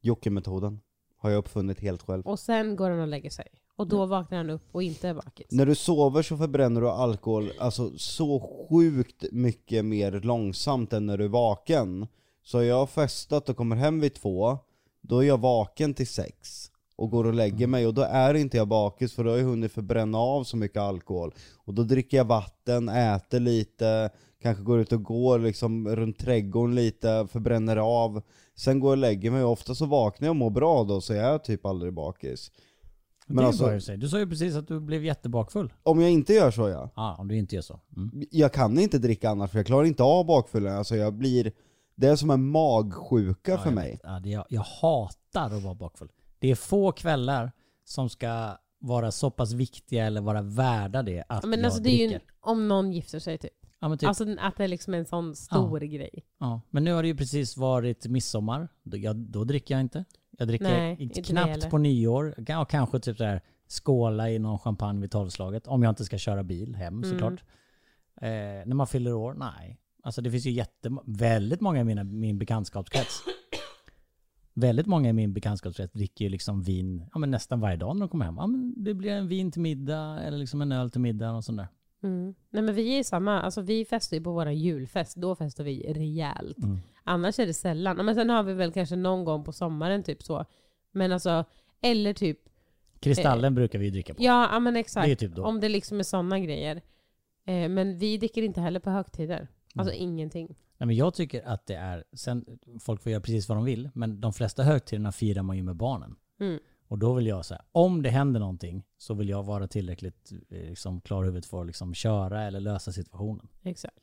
Jocke-metoden har jag uppfunnit helt själv.
Och sen går han och lägger sig. Och då vaknar han upp och inte är bakis.
När du sover så förbränner du alkohol alltså så sjukt mycket mer långsamt än när du är vaken. Så har jag har festat och kommer hem vid två, då är jag vaken till sex och går och lägger mig och då är inte jag bakis för då har jag hunnit förbränna av så mycket alkohol. Och då dricker jag vatten, äter lite, kanske går ut och går liksom runt trädgården lite, förbränner av. Sen går jag och lägger mig och ofta så vaknar jag och mår bra då så jag är typ aldrig bakis.
Men
Men
det
alltså-
alltså... sig. Du sa ju precis att du blev jättebakfull.
Om jag inte gör så ja.
Ja, om du inte gör så. Mm.
jag kan inte dricka annars för jag klarar inte av bakfyllan, alltså jag blir, det är som en magsjuka för
jag
mig.
vet. Ja, det, jag, jag hatar att vara bakfull. Det är få kvällar som ska vara så pass viktiga eller vara värda det att
Men
jag
alltså det är
dricker.
ju om någon gifter sig typ.
Ja, men typ.
Alltså att det är liksom en sån stor grej.
Ja, men nu har det ju precis varit midsommar. Då, jag, då dricker jag inte. Jag dricker
Nej,
i-
inte det
knappt
heller.
på nyår. Jag kan- Jag kanske typ där skåla i någon champagne vid tolvslaget. Om jag inte ska köra bil
Mm.
hem såklart. Eh, när man fyller år? Nej. Alltså det finns ju jätte, väldigt många i mina, min bekantskapskrets. väldigt många i min bekantskapskrets dricker ju liksom vin ja, men nästan varje dag när de kommer hem. Ja, men det blir en vin till middag eller liksom en öl till middag och sånt där.
Mm. Nej men vi är samma, alltså vi festar ju på våra julfest, då festar vi rejält.
Mm.
Annars är det sällan. Ja, Men sen har vi väl kanske någon gång på sommaren typ så. Men alltså, eller typ,
Kristallen
Eh,
brukar vi ju dricka på.
ja ja, men
Det är ju
exakt.
typ då.
om det liksom är sådana grejer. Eh, men vi dricker inte heller på högtider. Alltså
Mm.
ingenting.
Nej, men jag tycker att det är, sen folk får göra precis vad de vill, men de flesta högtiderna firar man ju med barnen.
Mm.
Och då vill jag säga, om det händer någonting så vill jag vara tillräckligt eh, liksom, klar i huvudet för att liksom, köra eller lösa situationen.
Exakt.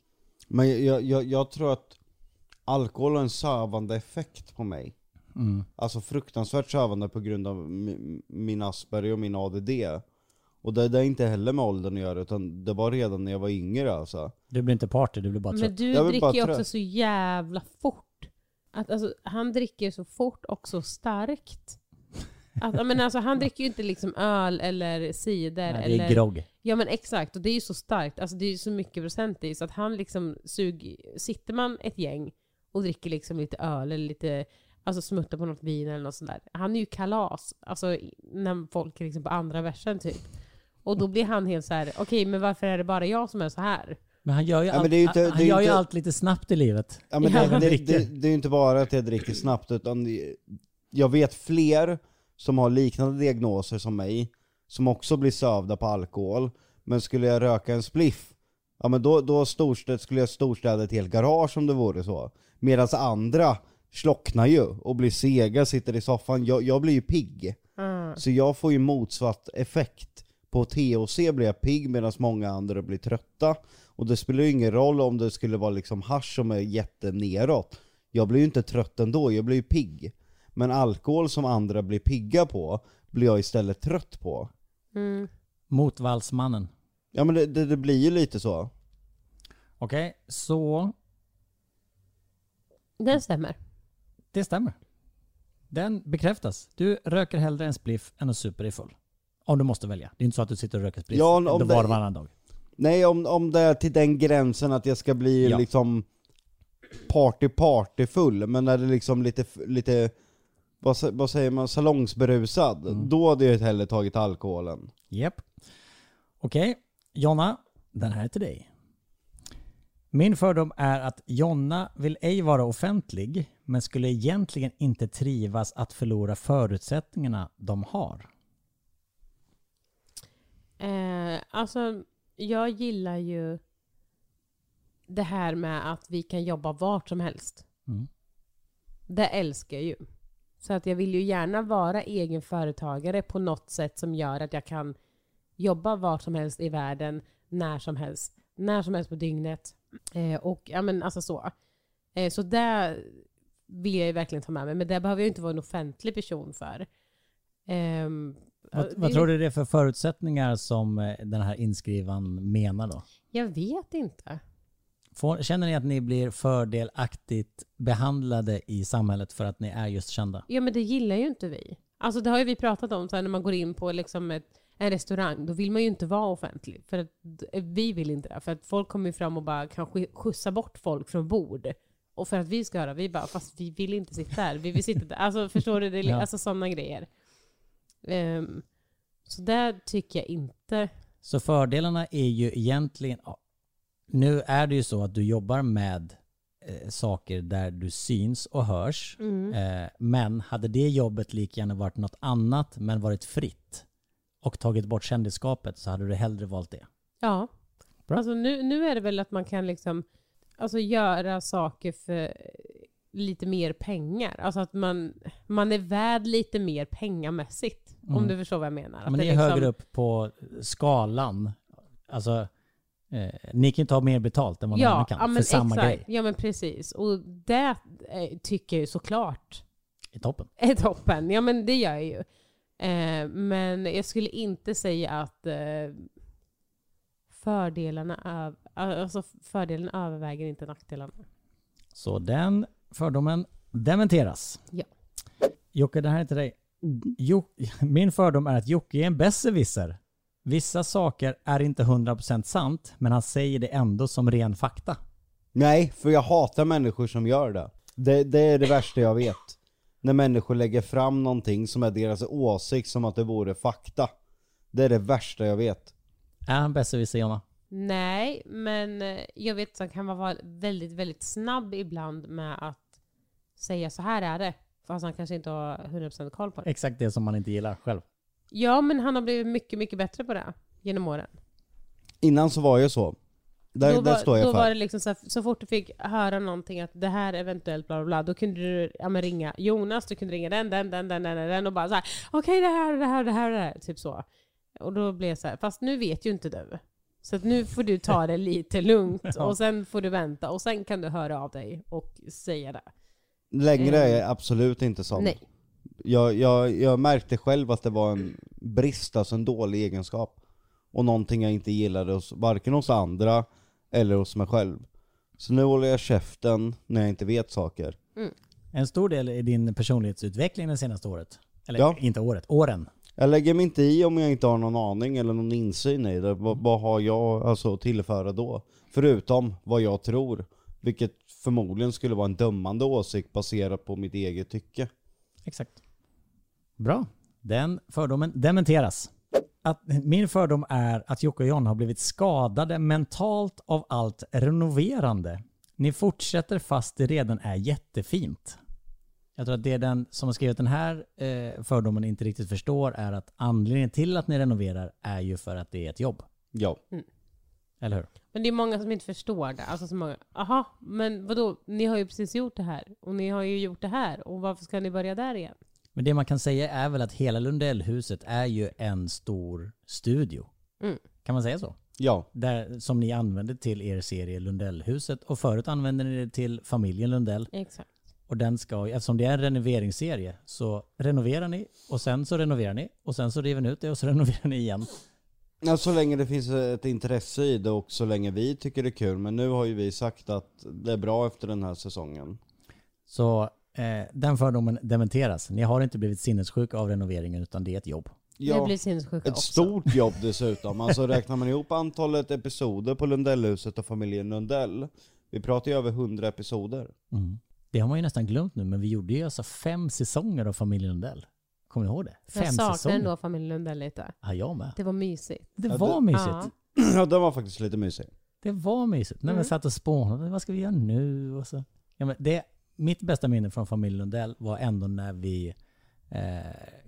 Men jag, jag, jag tror att alkohol har en sövande effekt på mig. Alltså fruktansvärt sövande på grund av mi- min Asperger och min ADD. Och det, det är inte heller med åldern att göra utan det var redan när jag var yngre alltså.
Du blir inte party, du blir bara
Men
trött.
du
Jag vill bara
dricker ju också
trött.
så jävla fort. Att, alltså, han dricker så fort och så starkt. Att, ja, men alltså, han dricker ju inte liksom öl eller cider.
Nej, det
eller,
är grogg.
Ja men exakt, och det är ju så starkt. Alltså, det är ju så mycket procent i. Så att han liksom sug, sitter man ett gäng och dricker liksom lite öl eller lite alltså, smuttar på något vin eller något sånt där. Han är ju kalas. Alltså i- när folk är liksom på andra versen typ. Och då blir han helt så här: okej men varför är det bara jag som är så här?
Men han gör ju,
Ja, men
allt,
det är ju inte-
han, han
det är ju
gör ju
inte-
allt lite snabbt i livet.
Ja, men
Ja,
det,
han
det,
dricker.
det, det är ju inte bara att jag dricker snabbt utan det- jag vet fler som har liknande diagnoser som mig som också blir sövda på alkohol. Men skulle jag röka en spliff, ja men då, då storstäd, skulle jag storstäda ett helt garage om det vore så. Medan andra slocknar ju och blir sega, sitter i soffan. Jag, jag blir ju pigg. Så jag får ju motsatt effekt. På THC blir jag pigg medan många andra blir trötta. Och det spelar ju ingen roll om det skulle vara liksom hasch som är jätteneråt. Jag blir ju inte trött ändå, jag blir ju pigg. Men alkohol som andra blir pigga på blir jag istället trött på.
Mot valsmannen.
Ja men det, det, det blir ju lite så.
Okej, så
Den stämmer.
det stämmer. Den bekräftas. Du röker hellre en spliff än att super dig full. Om du måste välja. Det är inte så att du sitter och röker spliff
Ja,
ja,
om
var och
det-
varannan dag.
Nej om, om det är till den gränsen att jag ska bli
Ja.
liksom party party full men när det liksom lite, lite vad, sä- vad säger man, salongsberusad. Då hade jag hellre tagit alkoholen.
Japp. Okej, Jonna. Den här är till dig. Min fördom är att Jonna vill ej vara offentlig, men skulle egentligen inte trivas att förlora förutsättningarna de har.
Eh, alltså, jag gillar ju det här med att vi kan jobba vart som helst.
Mm.
Det älskar jag ju. Så att jag vill ju gärna vara egen företagare på något sätt som gör att jag kan jobba vart som helst i världen, när som helst, när som helst på dygnet. Eh, och ja men alltså så. Eh, så det vill jag ju verkligen ta med mig, men det behöver jag ju inte vara en offentlig person för. Ehm,
Vad,
det-
vad tror du det är för förutsättningar som eh, den här inskrivan menar då?
Jag vet inte.
Får, känner ni att ni blir fördelaktigt behandlade i samhället för att ni är just kända?
Ja men det gillar ju inte vi. Alltså det har ju vi pratat om så här, när man går in på liksom ett, en restaurang, då vill man ju inte vara offentlig. För att d- eh, vi vill inte det. För att folk kommer ju fram och bara kan sk- skjutsa bort folk från bord. Och för att vi ska höra, vi bara, fast vi vill inte sitta där. Vi vill sitta där. Alltså förstår du? Det är, li-
Ja.
Alltså sådana grejer. Ehm, så där tycker jag inte.
Så fördelarna är ju egentligen, ja, nu är det ju så att du jobbar med eh, saker där du syns och hörs.
Mm.
Eh, men hade det jobbet lika gärna varit något annat men varit fritt och tagit bort kändisskapet så hade du hellre valt det.
Ja.
Bra.
Alltså nu, nu är det väl att man kan liksom alltså göra saker för lite mer pengar. Alltså att man, man är värd lite mer pengamässigt. Om du förstår vad jag menar. Att
Mm. men ni är
liksom,
högre upp på skalan. Alltså, eh, ni kan ju ta mer betalt än vad någon annan kan
ja, ja,
för
men
samma
exakt.
grej.
Ja men precis. Och det eh, tycker jag ju såklart
I toppen.
är *laughs* toppen. Ja men det gör jag ju. Eh, men jag skulle inte säga att eh, fördelarna, öv- alltså fördelen överväger inte nackdelarna.
Så den fördomen dementeras.
Ja.
Jocke, det här är till dig. Jo, min fördom är att Jocke är en besserwisser. Vissa saker är inte 100% sant, men han säger det ändå som ren fakta.
Nej, för jag hatar människor som gör det. Det, det är det värsta jag vet. När människor lägger fram någonting som är deras åsikt som att det vore fakta. Det är det värsta jag vet.
Är han besserwisser, Jonna?
Nej, men eh, jag vet att han kan vara väldigt, väldigt snabb ibland med att säga så här är det. Fast han kanske inte har 100% koll på det.
Exakt det som man inte gillar själv.
Ja, men han har blivit mycket, mycket bättre på det genom åren.
Innan så var jag så. Där,
då
där
var,
står
då var
jag för.
det liksom så, här, så fort du fick höra någonting att det här eventuellt bla bla bla, då kunde du ja, men ringa Jonas, du kunde ringa den, den, den, den, den, den och bara så här, okej det här, det här, det här, det här, typ så. Och då blev jag så här, fast nu vet ju inte du. Så att nu får du ta det lite
*laughs*
lugnt och sen får du vänta och sen kan du höra av dig och säga det.
Längre är jag absolut inte sån.
Mm. Nej.
Jag, jag, jag märkte själv att det var en brist, alltså en dålig egenskap. Och någonting jag inte gillade hos, varken hos andra eller hos mig själv. Så nu håller jag käften när jag inte vet saker.
En stor del i din personlighetsutveckling det senaste året. Eller
Ja.
inte året, åren.
Jag lägger mig inte i om jag inte har någon aning eller någon insyn i det. Vad, vad har jag alltså, att tillföra då? Förutom vad jag tror. Vilket förmodligen skulle vara en dömande åsikt baserat på mitt eget tycke.
Exakt. Bra. Den fördomen dementeras. Att, min fördom är att Jocke och John har blivit skadade mentalt av allt renoverande. Ni fortsätter fast det redan är jättefint. Jag tror att det den som har skrivit den här eh, fördomen inte riktigt förstår är att anledningen till att ni renoverar är ju för att det är ett jobb.
Ja.
Eller hur?
Men det är många som inte förstår det. Alltså så många, aha, men vadå, ni har ju precis gjort det här och ni har ju gjort det här och varför ska ni börja där igen?
Men det man kan säga är väl att hela Lundellhuset är ju en stor studio.
Mm.
Kan man säga så?
Ja.
Där, som ni använde till er serie Lundellhuset och förut använde ni det till familjen Lundell.
Exakt.
Och den ska, ju- eftersom det är en renoveringsserie så renoverar ni och sen så renoverar ni och sen så river ni ut det och så *laughs* renoverar ni igen.
Ja, så länge det finns ett intresse i det och så länge vi tycker det är kul. Men nu har ju vi sagt att det är bra efter den här säsongen.
Så eh, den fördomen dementeras. Ni har inte blivit sinnessjuka av renoveringen utan det är ett jobb.
Det
Ja,
blir sinnessjuka
ett
också.
stort jobb dessutom. Alltså räknar man ihop antalet episoder på Lundellhuset och familjen Lundell. Vi pratar ju över 100 episoder. *clears throat*
Det har man ju nästan glömt nu men vi gjorde ju alltså fem säsonger av familjen Lundell. Kommer ni ihåg det? Fem
Jag saknar
säsonger.
ändå familjen Lundell lite.
Ja, jag med.
Det var mysigt.
Det
Ja,
var
det-
mysigt.
Ja.
Ja, den var faktiskt lite mysig.
Det var mysigt. När vi satt och spånade, vad ska vi göra nu? Och så. Ja, men det, mitt bästa minne från familjen Lundell var ändå när vi eh,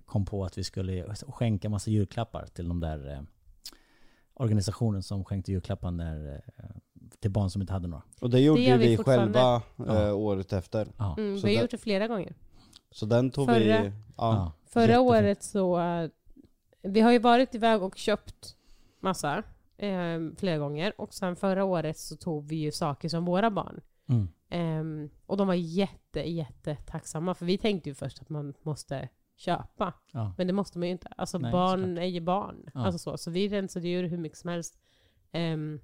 kom på att vi skulle skänka massa julklappar till de där eh, organisationen som skänkte julklappar när, eh, till barn som inte hade några.
Och det gjorde
Det
ju
gör vi
vi
fortfarande.
själva eh,
Ja.
året efter.
Ja.
Mm,
Så
vi har
där-
gjort det flera gånger.
Så den tog vi...
Förra-
Ja.
Ja.
Förra
Jättefint.
året så... eh, Vi har ju varit iväg och köpt massa eh, flera gånger. Och sen förra året så tog vi ju saker som våra barn.
Mm.
Ehm, och de var jätte, jätte tacksamma. För vi tänkte ju först att man måste köpa.
Ja.
Men det måste man ju inte. Alltså
Nej,
barn
såklart.
är ju barn.
Ja.
Alltså så. så vi rensade ju ur hur mycket som helst. ehm,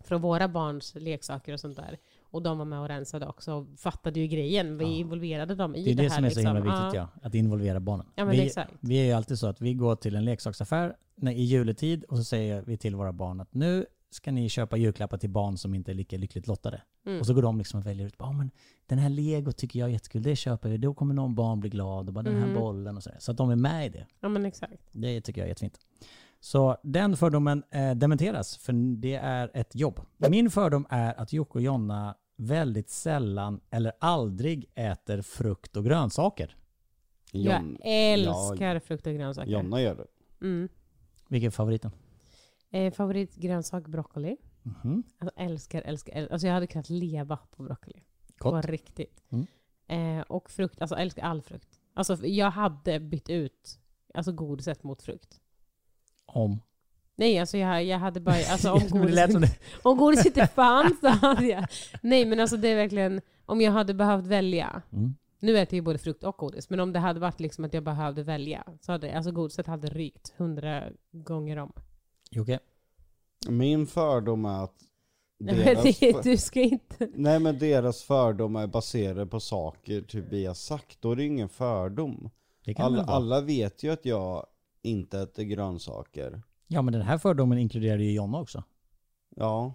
från våra barns leksaker och sånt där. Och de var med och rensade också och fattade ju grejen. Vi
Ja.
involverade dem i
Det
det,
är det,
här.
som är så
liksom.
himla viktigt, ja. Att involvera barnen.
Ja, men
vi,
exakt.
vi är ju alltid så att vi går till en leksaksaffär när, i juletid och så säger vi till våra barn att nu ska ni köpa julklappar till barn som inte är lika lyckligt lottade.
Mm.
Och så går de liksom och väljer ut, ja men den här lego tycker jag är jättekul, det köper vi, då kommer någon barn bli glad och bara den här
Mm.
bollen och sådär. Så att de är med i det.
Ja men exakt.
Det tycker jag är jättefint. Så den fördomen eh, dementeras, för det är ett jobb. Min fördom är att Jocke och Jonna väldigt sällan eller aldrig äter frukt och grönsaker.
Jon-
jag älskar frukt och grönsaker.
Jonna gör det.
Mm.
Vilken är favoriten?
Eh, favoritgrönsak broccoli.
Mhm.
Alltså, älskar, älskar, älskar. Alltså jag hade kunnat leva på broccoli. På
Kort.
riktigt.
Mm.
Eh, och frukt, alltså älskar all frukt. Alltså jag hade bytt ut alltså godiset mot frukt.
Om.
Nej, alltså jag, jag hade bara...
*laughs*
Alltså, om,
Men det lät
godis,
som det.
*laughs* om
*laughs*
godis inte fanns så hade jag... Nej, men alltså det är verkligen... Om jag hade behövt välja.
Mm.
Nu äter jag ju både frukt och godis, men om det hade varit liksom att jag behövde välja så hade alltså godiset hade rykt hundra gånger om.
Jocke?
Min fördom är att
Nej, men
deras,
*laughs*
alltså.
det, du ska inte...
nej men deras fördomar är baserade på saker typ vi har sagt. Då är det ju ingen fördom.
Det kan
Alla,
väl vara.
alla vet ju att jag inte äter grönsaker.
Ja men den här fördomen inkluderar ju Jonna också.
Ja.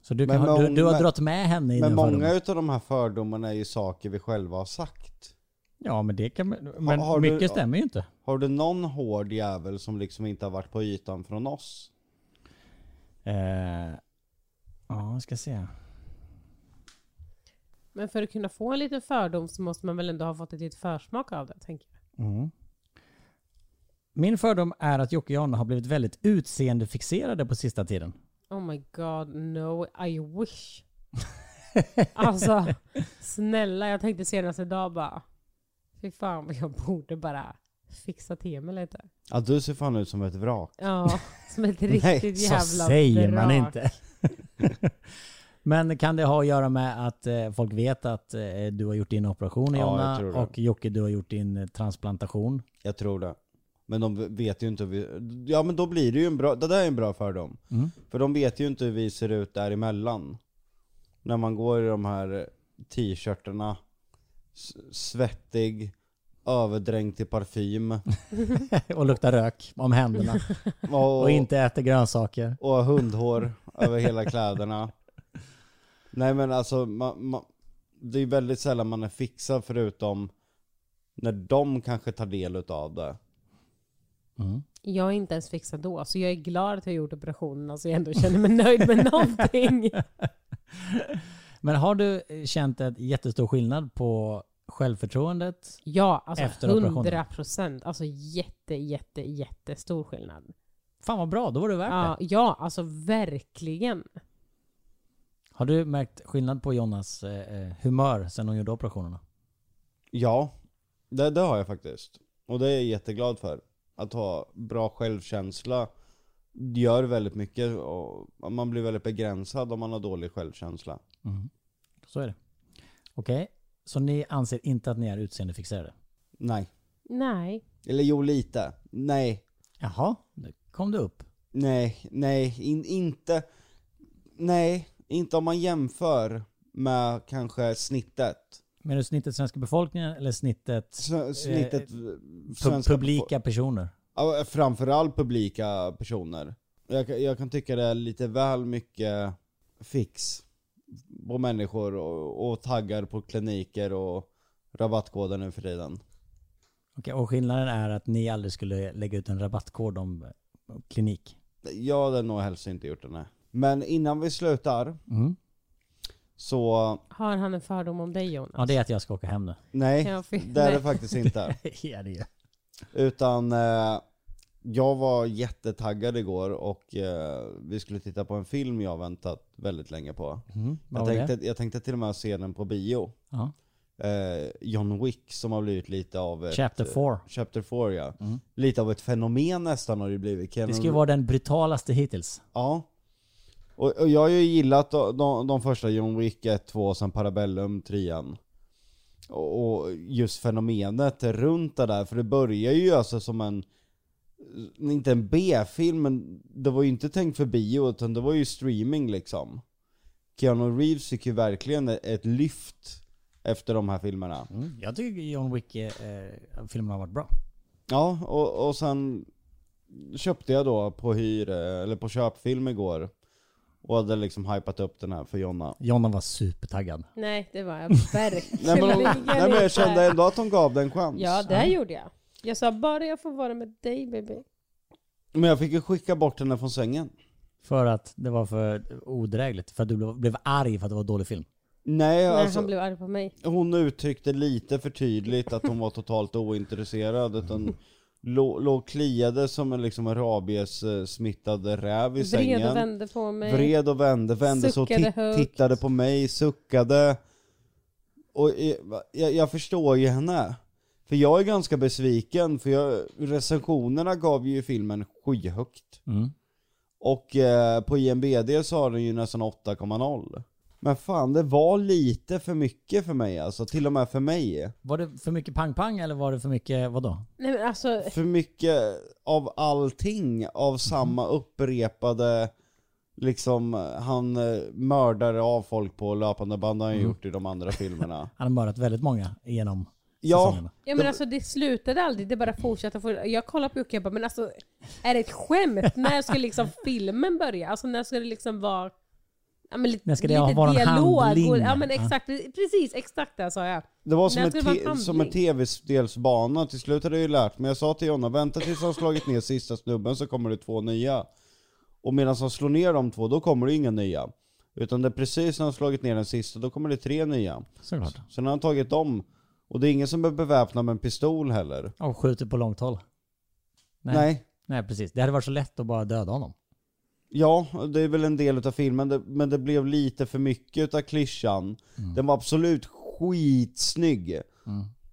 Så du,
Men
kan, ha- du,
mång-
du har
men-
dragit med henne i
Men
den
många
fördomen.
utav de här fördomarna är ju saker vi själva har sagt.
Ja men det kan Men
har du-
mycket stämmer ju inte.
Har du någon hård jävel som liksom inte har varit på ytan från oss?
Eh, ja, jag ska se.
Men för att kunna få en liten fördom så måste man väl ändå ha fått ett litet försmak av det, tänker jag.
Mm. Min fördom är att Jocke och Jonna har blivit väldigt utseendefixerade på sista tiden.
Oh my god, no, I
*laughs*
wish. Alltså, snälla, jag tänkte senast idag bara, fy fan vad jag borde bara fixa till mig lite.
Ja du ser fan ut som ett vrak.
Ja,
*laughs*
som ett riktigt jävla
Så säger man
vrak.
inte. *laughs* Men kan det ha att göra med att eh, folk vet att eh, du har gjort din operation
Ja, jag
Jonna
tror det.
och Jocke du har gjort din eh, transplantation?
Jag tror det. Men de vet ju inte hur vi... Ja men då blir det ju en bra... Det där är en bra fördom.
Mm.
För de vet ju inte hur vi ser ut däremellan. När man går i de här t-shirtarna, s- svettig, överdränkt
*laughs*
i parfym
och luktar rök om händerna
och,
och inte äter grönsaker.
och har hundhår över hela kläderna. Nej men alltså, man, man, det är väldigt sällan man är fixad förutom när de kanske tar del utav det.
Jag är inte ens fixad då, så jag är glad att jag gjort operationen, så jag ändå känner mig nöjd
*laughs*
med någonting.
Men har du eh, känt en jättestor skillnad på självförtroendet.
Ja, alltså
Efter operationen.
100 procent. Alltså jätte, jätte, jättestor skillnad.
Fan vad bra, då var det värt
Ja,
det.
ja, alltså verkligen.
Har du märkt skillnad på Jonas eh, eh, humör sen hon gjorde operationerna?
Ja, det, det har jag faktiskt. Och det är jag jätteglad för. Att ha bra självkänsla gör väldigt mycket och man blir väldigt begränsad om man har dålig självkänsla.
Så är det. Okej, så ni anser inte att ni är utseendefixerade?
Nej.
Nej.
Eller jo, lite. Nej.
Jaha, nu kom du upp.
Nej, nej, in, inte... Nej, inte om man jämför med kanske snittet.
Menar du snittet svenska befolkningen eller snittet
S- snittet...
Eh, pu-
svenska
publika personer?
Ja, Framförallt publika personer. Jag, kan- jag kan tycka det är lite väl mycket fix på människor och, och taggar på kliniker och rabattkoder nu för tiden.
Okej, och skillnaden är att ni aldrig skulle lägga ut en rabattkod om eh, klinik?
Jag hade nog helst inte gjort det nej. Men innan vi slutar
Mm.
så,
Har han en fördom om dig Jonas?
Ja, det är att jag ska åka hem nu.
nej,
Ja, för-
det är det
nej.
faktiskt inte.
*laughs* ja, det är.
Utan eh, jag var jättetaggad igår och eh, vi skulle titta på en film jag väntat väldigt länge på.
Mm.
Jag
Vad var det?
tänkte, jag tänkte till och med se den på bio.
Ja.
eh, John Wick som har blivit lite av ett,
Chapter 4.
Chapter 4 ja.
Mm.
Lite av ett fenomen nästan har det blivit. Keanu
Det ska ju vara den brutalaste hittills.
Ja. Och, och jag har ju gillat de, de, de första John Wick 1, 2 och sen Parabellum 3 och, och just fenomenet runt det där, för det börjar ju alltså som en inte en B-film, men det var ju inte tänkt för bio utan det var ju streaming liksom. Keanu Reeves fick ju verkligen ett lyft efter de här filmerna.
Mm. Jag tycker John Wick-filmen har varit bra.
Ja, och, och sen köpte jag då på hyr, eller på köpfilm igår. Och hade liksom hypat upp den här för Jonna.
Jonna var supertaggad.
Nej,
*laughs*
det var jag verkligen
Nej men, hon, nej, men jag
inte.
kände ändå att hon gav den en chans.
Ja, det gjorde jag. Jag sa bara jag får vara med dig baby.
Men jag fick ju skicka bort henne från sängen.
För att det var för odrägligt. För att du blev- blev arg för att det var dålig film.
Nej,
Nej,
alltså,
han blev arg på mig.
hon uttryckte lite för tydligt att hon var totalt ointresserad.
*laughs*
Utan lå- låg och kliade som en liksom en rabies-smittad räv i sängen.
Vred och vände på mig.
Vred och vände, vände sig och
Suckade
tit-
högt.
tittade på mig, suckade. Och eh, va- jag, jag förstår ju henne. För jag är ganska besviken, för jag, recensionerna gav ju filmen skyhögt.
Mm.
Och eh, på IMBD så har den ju nästan 8,0. Men fan, det var lite för mycket för mig alltså, till och med för mig.
Var det för mycket pang-pang eller var det för mycket, vadå?
Nej men alltså,
För mycket av allting, av samma upprepade Liksom, han eh, mördar av folk på löpande band har han gjort i de andra filmerna.
Han har mördat väldigt många genom
ja,
säsongerna.
ja, men alltså det slutade aldrig, det bara fortsatte. For- jag kollade på Jocke och bara, men alltså är det ett skämt? när ska
*laughs*
liksom filmen börja? Alltså när ska det liksom vara Ja, men lite,
När ska det
lite
vara en
dialog
handling?
Och, ja men
Ja.
exakt, precis exakt det sa jag.
det var som,
Men
ett
jag tror det var
te-
en
som en
handling.
tv-spelsbana. Till slut hade jag ju lärt mig. Jag sa till Jonna, vänta tills han slagit ner sista snubben så kommer det två nya. Och medan han slår ner de två, då kommer det inga nya. Utan det är precis när han slagit ner den sista, då kommer det tre nya.
Såklart.
Sen har han tagit dem. Och det är ingen som är beväpnad med en pistol heller.
Och skjuter på långt håll. Nej.
Nej.
Nej, precis. Det hade varit så lätt att bara döda honom.
Ja, det är väl en del utav filmen, det- men det blev lite för mycket utav klyschan. Den var absolut skitsnygg.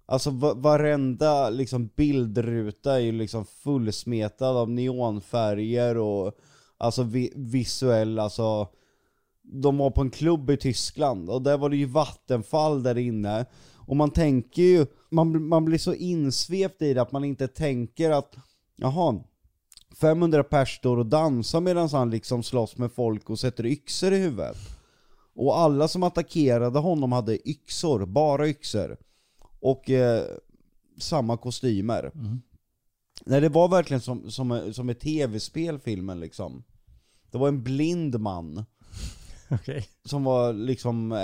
Alltså va- varenda liksom, bildruta är ju liksom fullsmetad av neonfärger och alltså vi- visuell, alltså de var på en klubb i Tyskland och där var det ju vattenfall där inne. Och man tänker ju, man, man blir så insvept i det att man inte tänker att jaha, 500 pers står och dansar medan han liksom slåss med folk och sätter yxor i huvudet. Och alla som attackerade honom hade yxor, bara yxor. Och eh, samma kostymer. Nej det var verkligen som, som, som ett tv-spel filmen liksom. Det var en blind man
Okej.
som var liksom eh,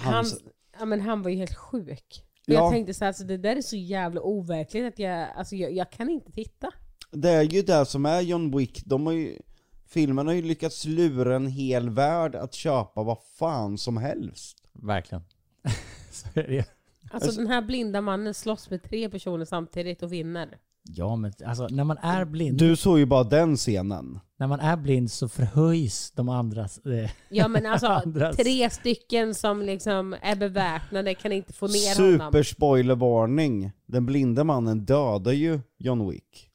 Han,
hans...
ja, men han var ju helt sjuk. Och
Ja.
Jag tänkte så här, alltså, det där är så jävla overkligt att jag, alltså, jag, jag kan inte titta.
Det är ju det som är John Wick, de har ju... Filmen har ju lyckats lura en hel värld att köpa vad fan som helst.
Verkligen. *laughs* så är det ju.
Alltså, den här blinda mannen slåss med tre personer samtidigt och vinner.
Ja men alltså när man är blind,
Du såg ju bara den scenen.
när man är blind så förhöjs de andras... *laughs* Eh,
Ja men
*laughs*
alltså
Andras.
tre stycken som liksom är beväpnade kan inte få ner honom.
Superspoilervarning. Den blinde mannen dödar ju John Wick.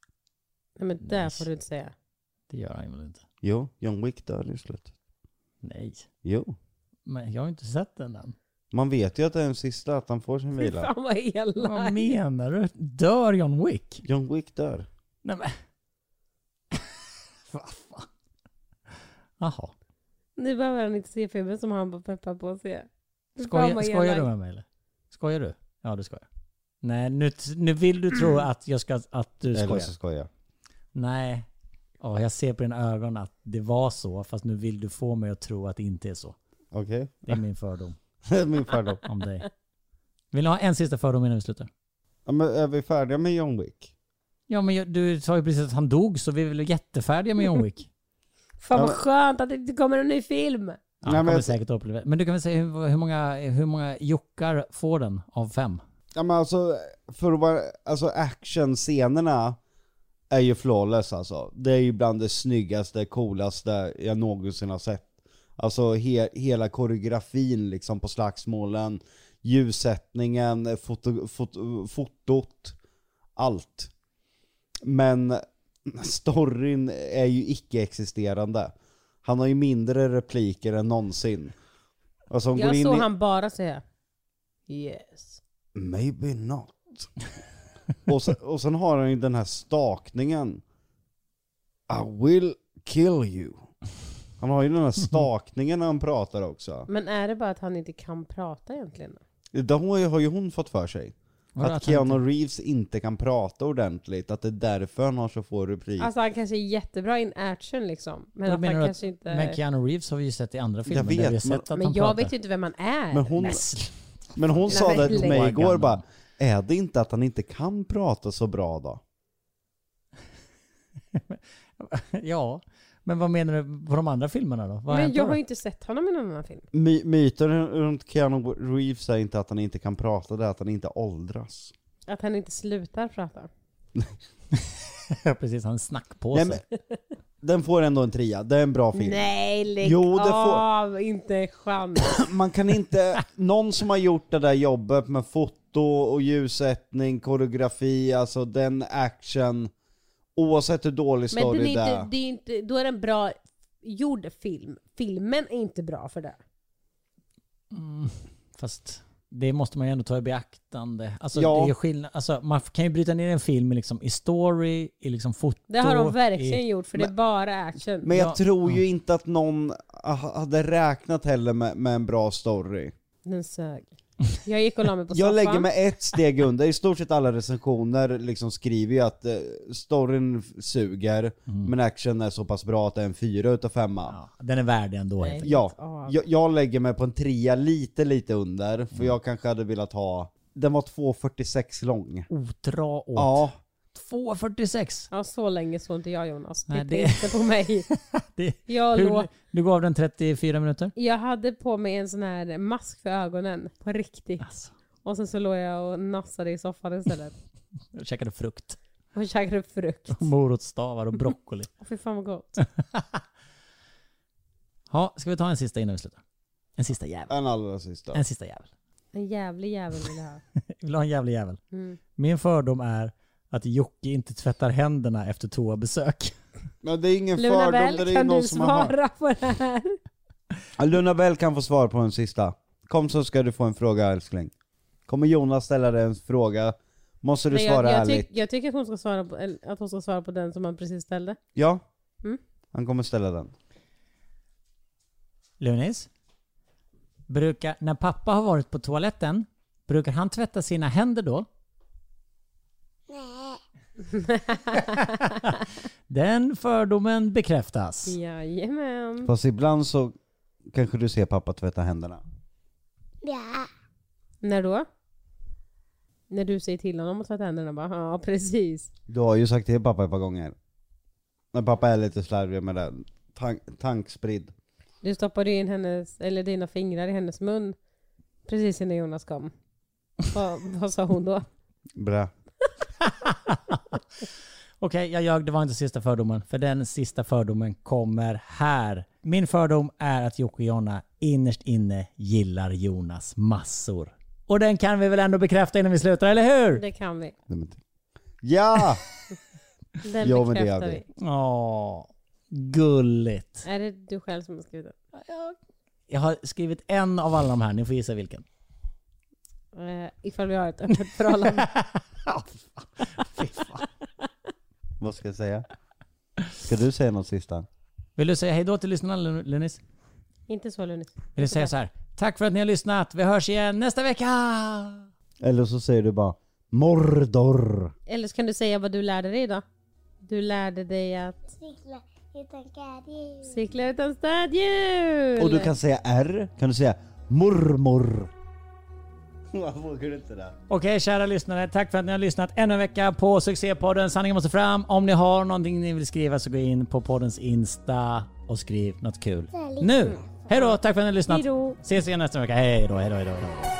Nej men det får du inte
*laughs*
säga.
det gör han väl inte?
Jo, John Wick dör i slutet.
Nej.
Jo.
Men jag har ju inte sett den *laughs* än.
Man vet ju att det är den sista, att han får sin
Fy
vila.
fan vad
Vad
elak.
menar du? Dör John Wick?
John Wick dör.
Nej men... *laughs* Vad fan? Jaha.
Nu behöver han inte se filmen som han var peppad på att se. Fy fan
Skojar,
vad
skojar du
elak.
med mig eller? Skojar du? Ja du skojar. Nej nu, nu vill du tro att jag ska... Att du
Eller
skojar.
så skojar.
Nej. Ja, jag ser på dina ögon att det var så, fast nu vill du få mig att tro att det inte är så.
Okej. *laughs*
*laughs* Det är min fördom
Min fördom.
om dig. Vill du ha en sista fördom innan vi slutar?
Ja, men är vi färdiga med John Wick?
Ja, men jag- du sa ju precis att han dog, så vi är väl jättefärdiga med John
*laughs*
Wick.
Fan
Ja,
vad
men-
skönt att det inte kommer en ny film.
Ja,
Nej,
han
men
kommer
jag-
säkert att uppleva. Men du kan väl säga hur, hur, många, hur många jockar får den av fem?
Ja men alltså, för att vara, alltså actionscenerna är ju flawless alltså. Det är ju bland det snyggaste, coolaste jag någonsin har sett. Alltså he, hela koreografin liksom på slagsmålen, ljussättningen, foto, foto, fotot, allt. Men storyn är ju icke-existerande. Han har ju mindre repliker än någonsin. Alltså, hon går
Jag
in
såg
i-
han bara säga yes.
Maybe not. och, sen, och sen har han ju den här stakningen. I will kill you. Han har ju den här stakningen när han pratar också.
Men är det bara att han inte kan prata egentligen?
Det har ju- har ju hon fått för sig.
Vadå,
Att
han
Keanu
inte-
Reeves inte kan prata ordentligt, att det är därför han har så få repliker.
Alltså han kanske är jättebra in action liksom. Men
Då
att
menar
han
du
kanske inte...
Men Keanu Reeves har vi ju sett i andra filmer
vet,
där vi har
men-
sett att
Men
han
jag
pratar.
vet ju inte vem han är.
men hon,
Men sl-
men hon sa
Nej, men
det till mig
lägg-
igår bara, är det inte att han inte kan prata så bra då?
*laughs* ja, men vad menar du på de andra filmerna då? Vad har
Men
hänt
jag
då?
har ju inte sett honom i någon annan film.
My, myten runt Keanu Reeves är inte att han inte kan prata, det är att han inte åldras.
Att han inte slutar prata.
*laughs* Ja, precis, han snack på
Nej,
sig.
men, den får ändå en trea, det är en bra film.
Nej, lägg
Jo, det får-
av! Inte en
*laughs*
chans.
*clears throat* Man kan inte, någon som har gjort det där jobbet med foto och ljussättning, koreografi, alltså den action, oavsett hur dålig
Men den är
story det
inte,
är.
det är inte, då är det en bra gjord film. Filmen är inte bra för det.
Mm, Fast det måste man ju ändå ta i beaktande. Alltså,
Ja.
det är ju skillnad. Alltså, man kan ju bryta ner en film i liksom, i story, i liksom foto.
Det har de verkligen
i...
gjort för det är bara action.
Men jag
Ja.
tror ju inte att någon ha- hade räknat heller med, med en bra story.
Den sög. Jag gick och la mig på
Jag
soffan.
lägger mig ett steg under, i stort sett alla recensioner liksom skriver ju att eh, storyn suger, men action är så pass bra att det är en fyra utav femma.
Mm. Ja, den är värd det ändå. helt enkelt.
Ja,
av.
jag, jag lägger mig på en trea lite, lite under,
Mm.
för jag kanske hade velat ha... Den var 2.46 lång.
Odra åt.
Ja,
2.46.
Ja, så länge såg inte jag Jonas. Titta
Nej, det-
inte
*laughs*
på mig.
Det...
Jag, låg,
Hur... Du gav den 34 minuter?
jag hade på mig en sån här mask för ögonen. På riktigt.
Alltså,
Och sen så låg jag och nassade i soffan istället.
jag käkade frukt.
Och käkade frukt.
Morotsstavar och *laughs* broccoli.
Åh, Fy fan vad gott.
ha, ska vi ta en sista innan vi slutar? En sista jävel.
en allra sista.
En sista jävel.
En jävlig jävel vill jag ha.
Vill du ha en jävlig jävel?
Mm.
Min fördom är att Jocke inte tvättar händerna efter toabesök.
Men det är ingen
Luna
fördom,
Bell,
det är
kan
någon
du
som har hört.
svara på det här?
Ja, Luna Bell kan få svar på den sista. Kom så ska du få en fråga älskling. Kommer Jonas ställa dig en fråga, måste du
Men
svara
jag, jag,
ärligt.
tyck, jag tycker att hon, ska svara på, eller att hon ska svara på den som han precis ställde.
Ja?
Mm.
Han kommer ställa den.
Lunis? Brukar, när pappa har varit på toaletten, brukar han tvätta sina händer då?
Nej.
Den fördomen bekräftas.
Jajamän.
Fast ibland så kanske du ser pappa tvätta händerna.
Ja.
När då? När du säger till honom att tvätta händerna bara, ja precis.
Du har ju sagt till pappa ett par gånger. Men pappa är lite slarvig med det. Tank, tankspridd.
Du stoppade ju in hennes, eller dina fingrar i hennes mun precis innan Jonas kom. Vad, vad sa hon då?
Blä.
Okej, jag ljög. Det var inte sista fördomen. För den sista fördomen kommer här. Min fördom är att Jocke och Jonna innerst inne gillar Jonas massor. Och den kan vi väl ändå bekräfta innan vi slutar, eller hur?
Det kan vi.
Nej, men- typ. Ja!
Den
Jo, men det
bekräftar
gör vi.
vi.
Åh, gulligt.
Är det du själv som har skrivit den?
Jag har skrivit en av alla de här. Ni får gissa *laughs* vilken.
Eh, ifall vi har ett öppet förhållande. *laughs*
Fy fan.
Vad ska jag säga? Ska du säga något sista?
Vill du säga hejdå till lyssnarna, Lun- Lunis?
Inte så Lunis.
Vill du säga så här? Tack för att ni har lyssnat. Vi hörs igen nästa vecka!
Eller så säger du bara Mordor.
Eller så kan du säga vad du lärde dig idag. Du lärde dig att
Cykla utan gardin.
cykla utan stödhjul.
Och du kan säga R. Kan du säga mormor? Jag vågar inte det.
Okej kära lyssnare, tack för att ni har lyssnat ännu en vecka på succépodden Sanningen måste fram. Om ni har någonting ni vill skriva så gå in på poddens Insta och skriv något kul. Nu! Hej då, tack för att ni har lyssnat.
Hej då.
Ses igen nästa vecka. Hej då, hej då, hej då. Hej då.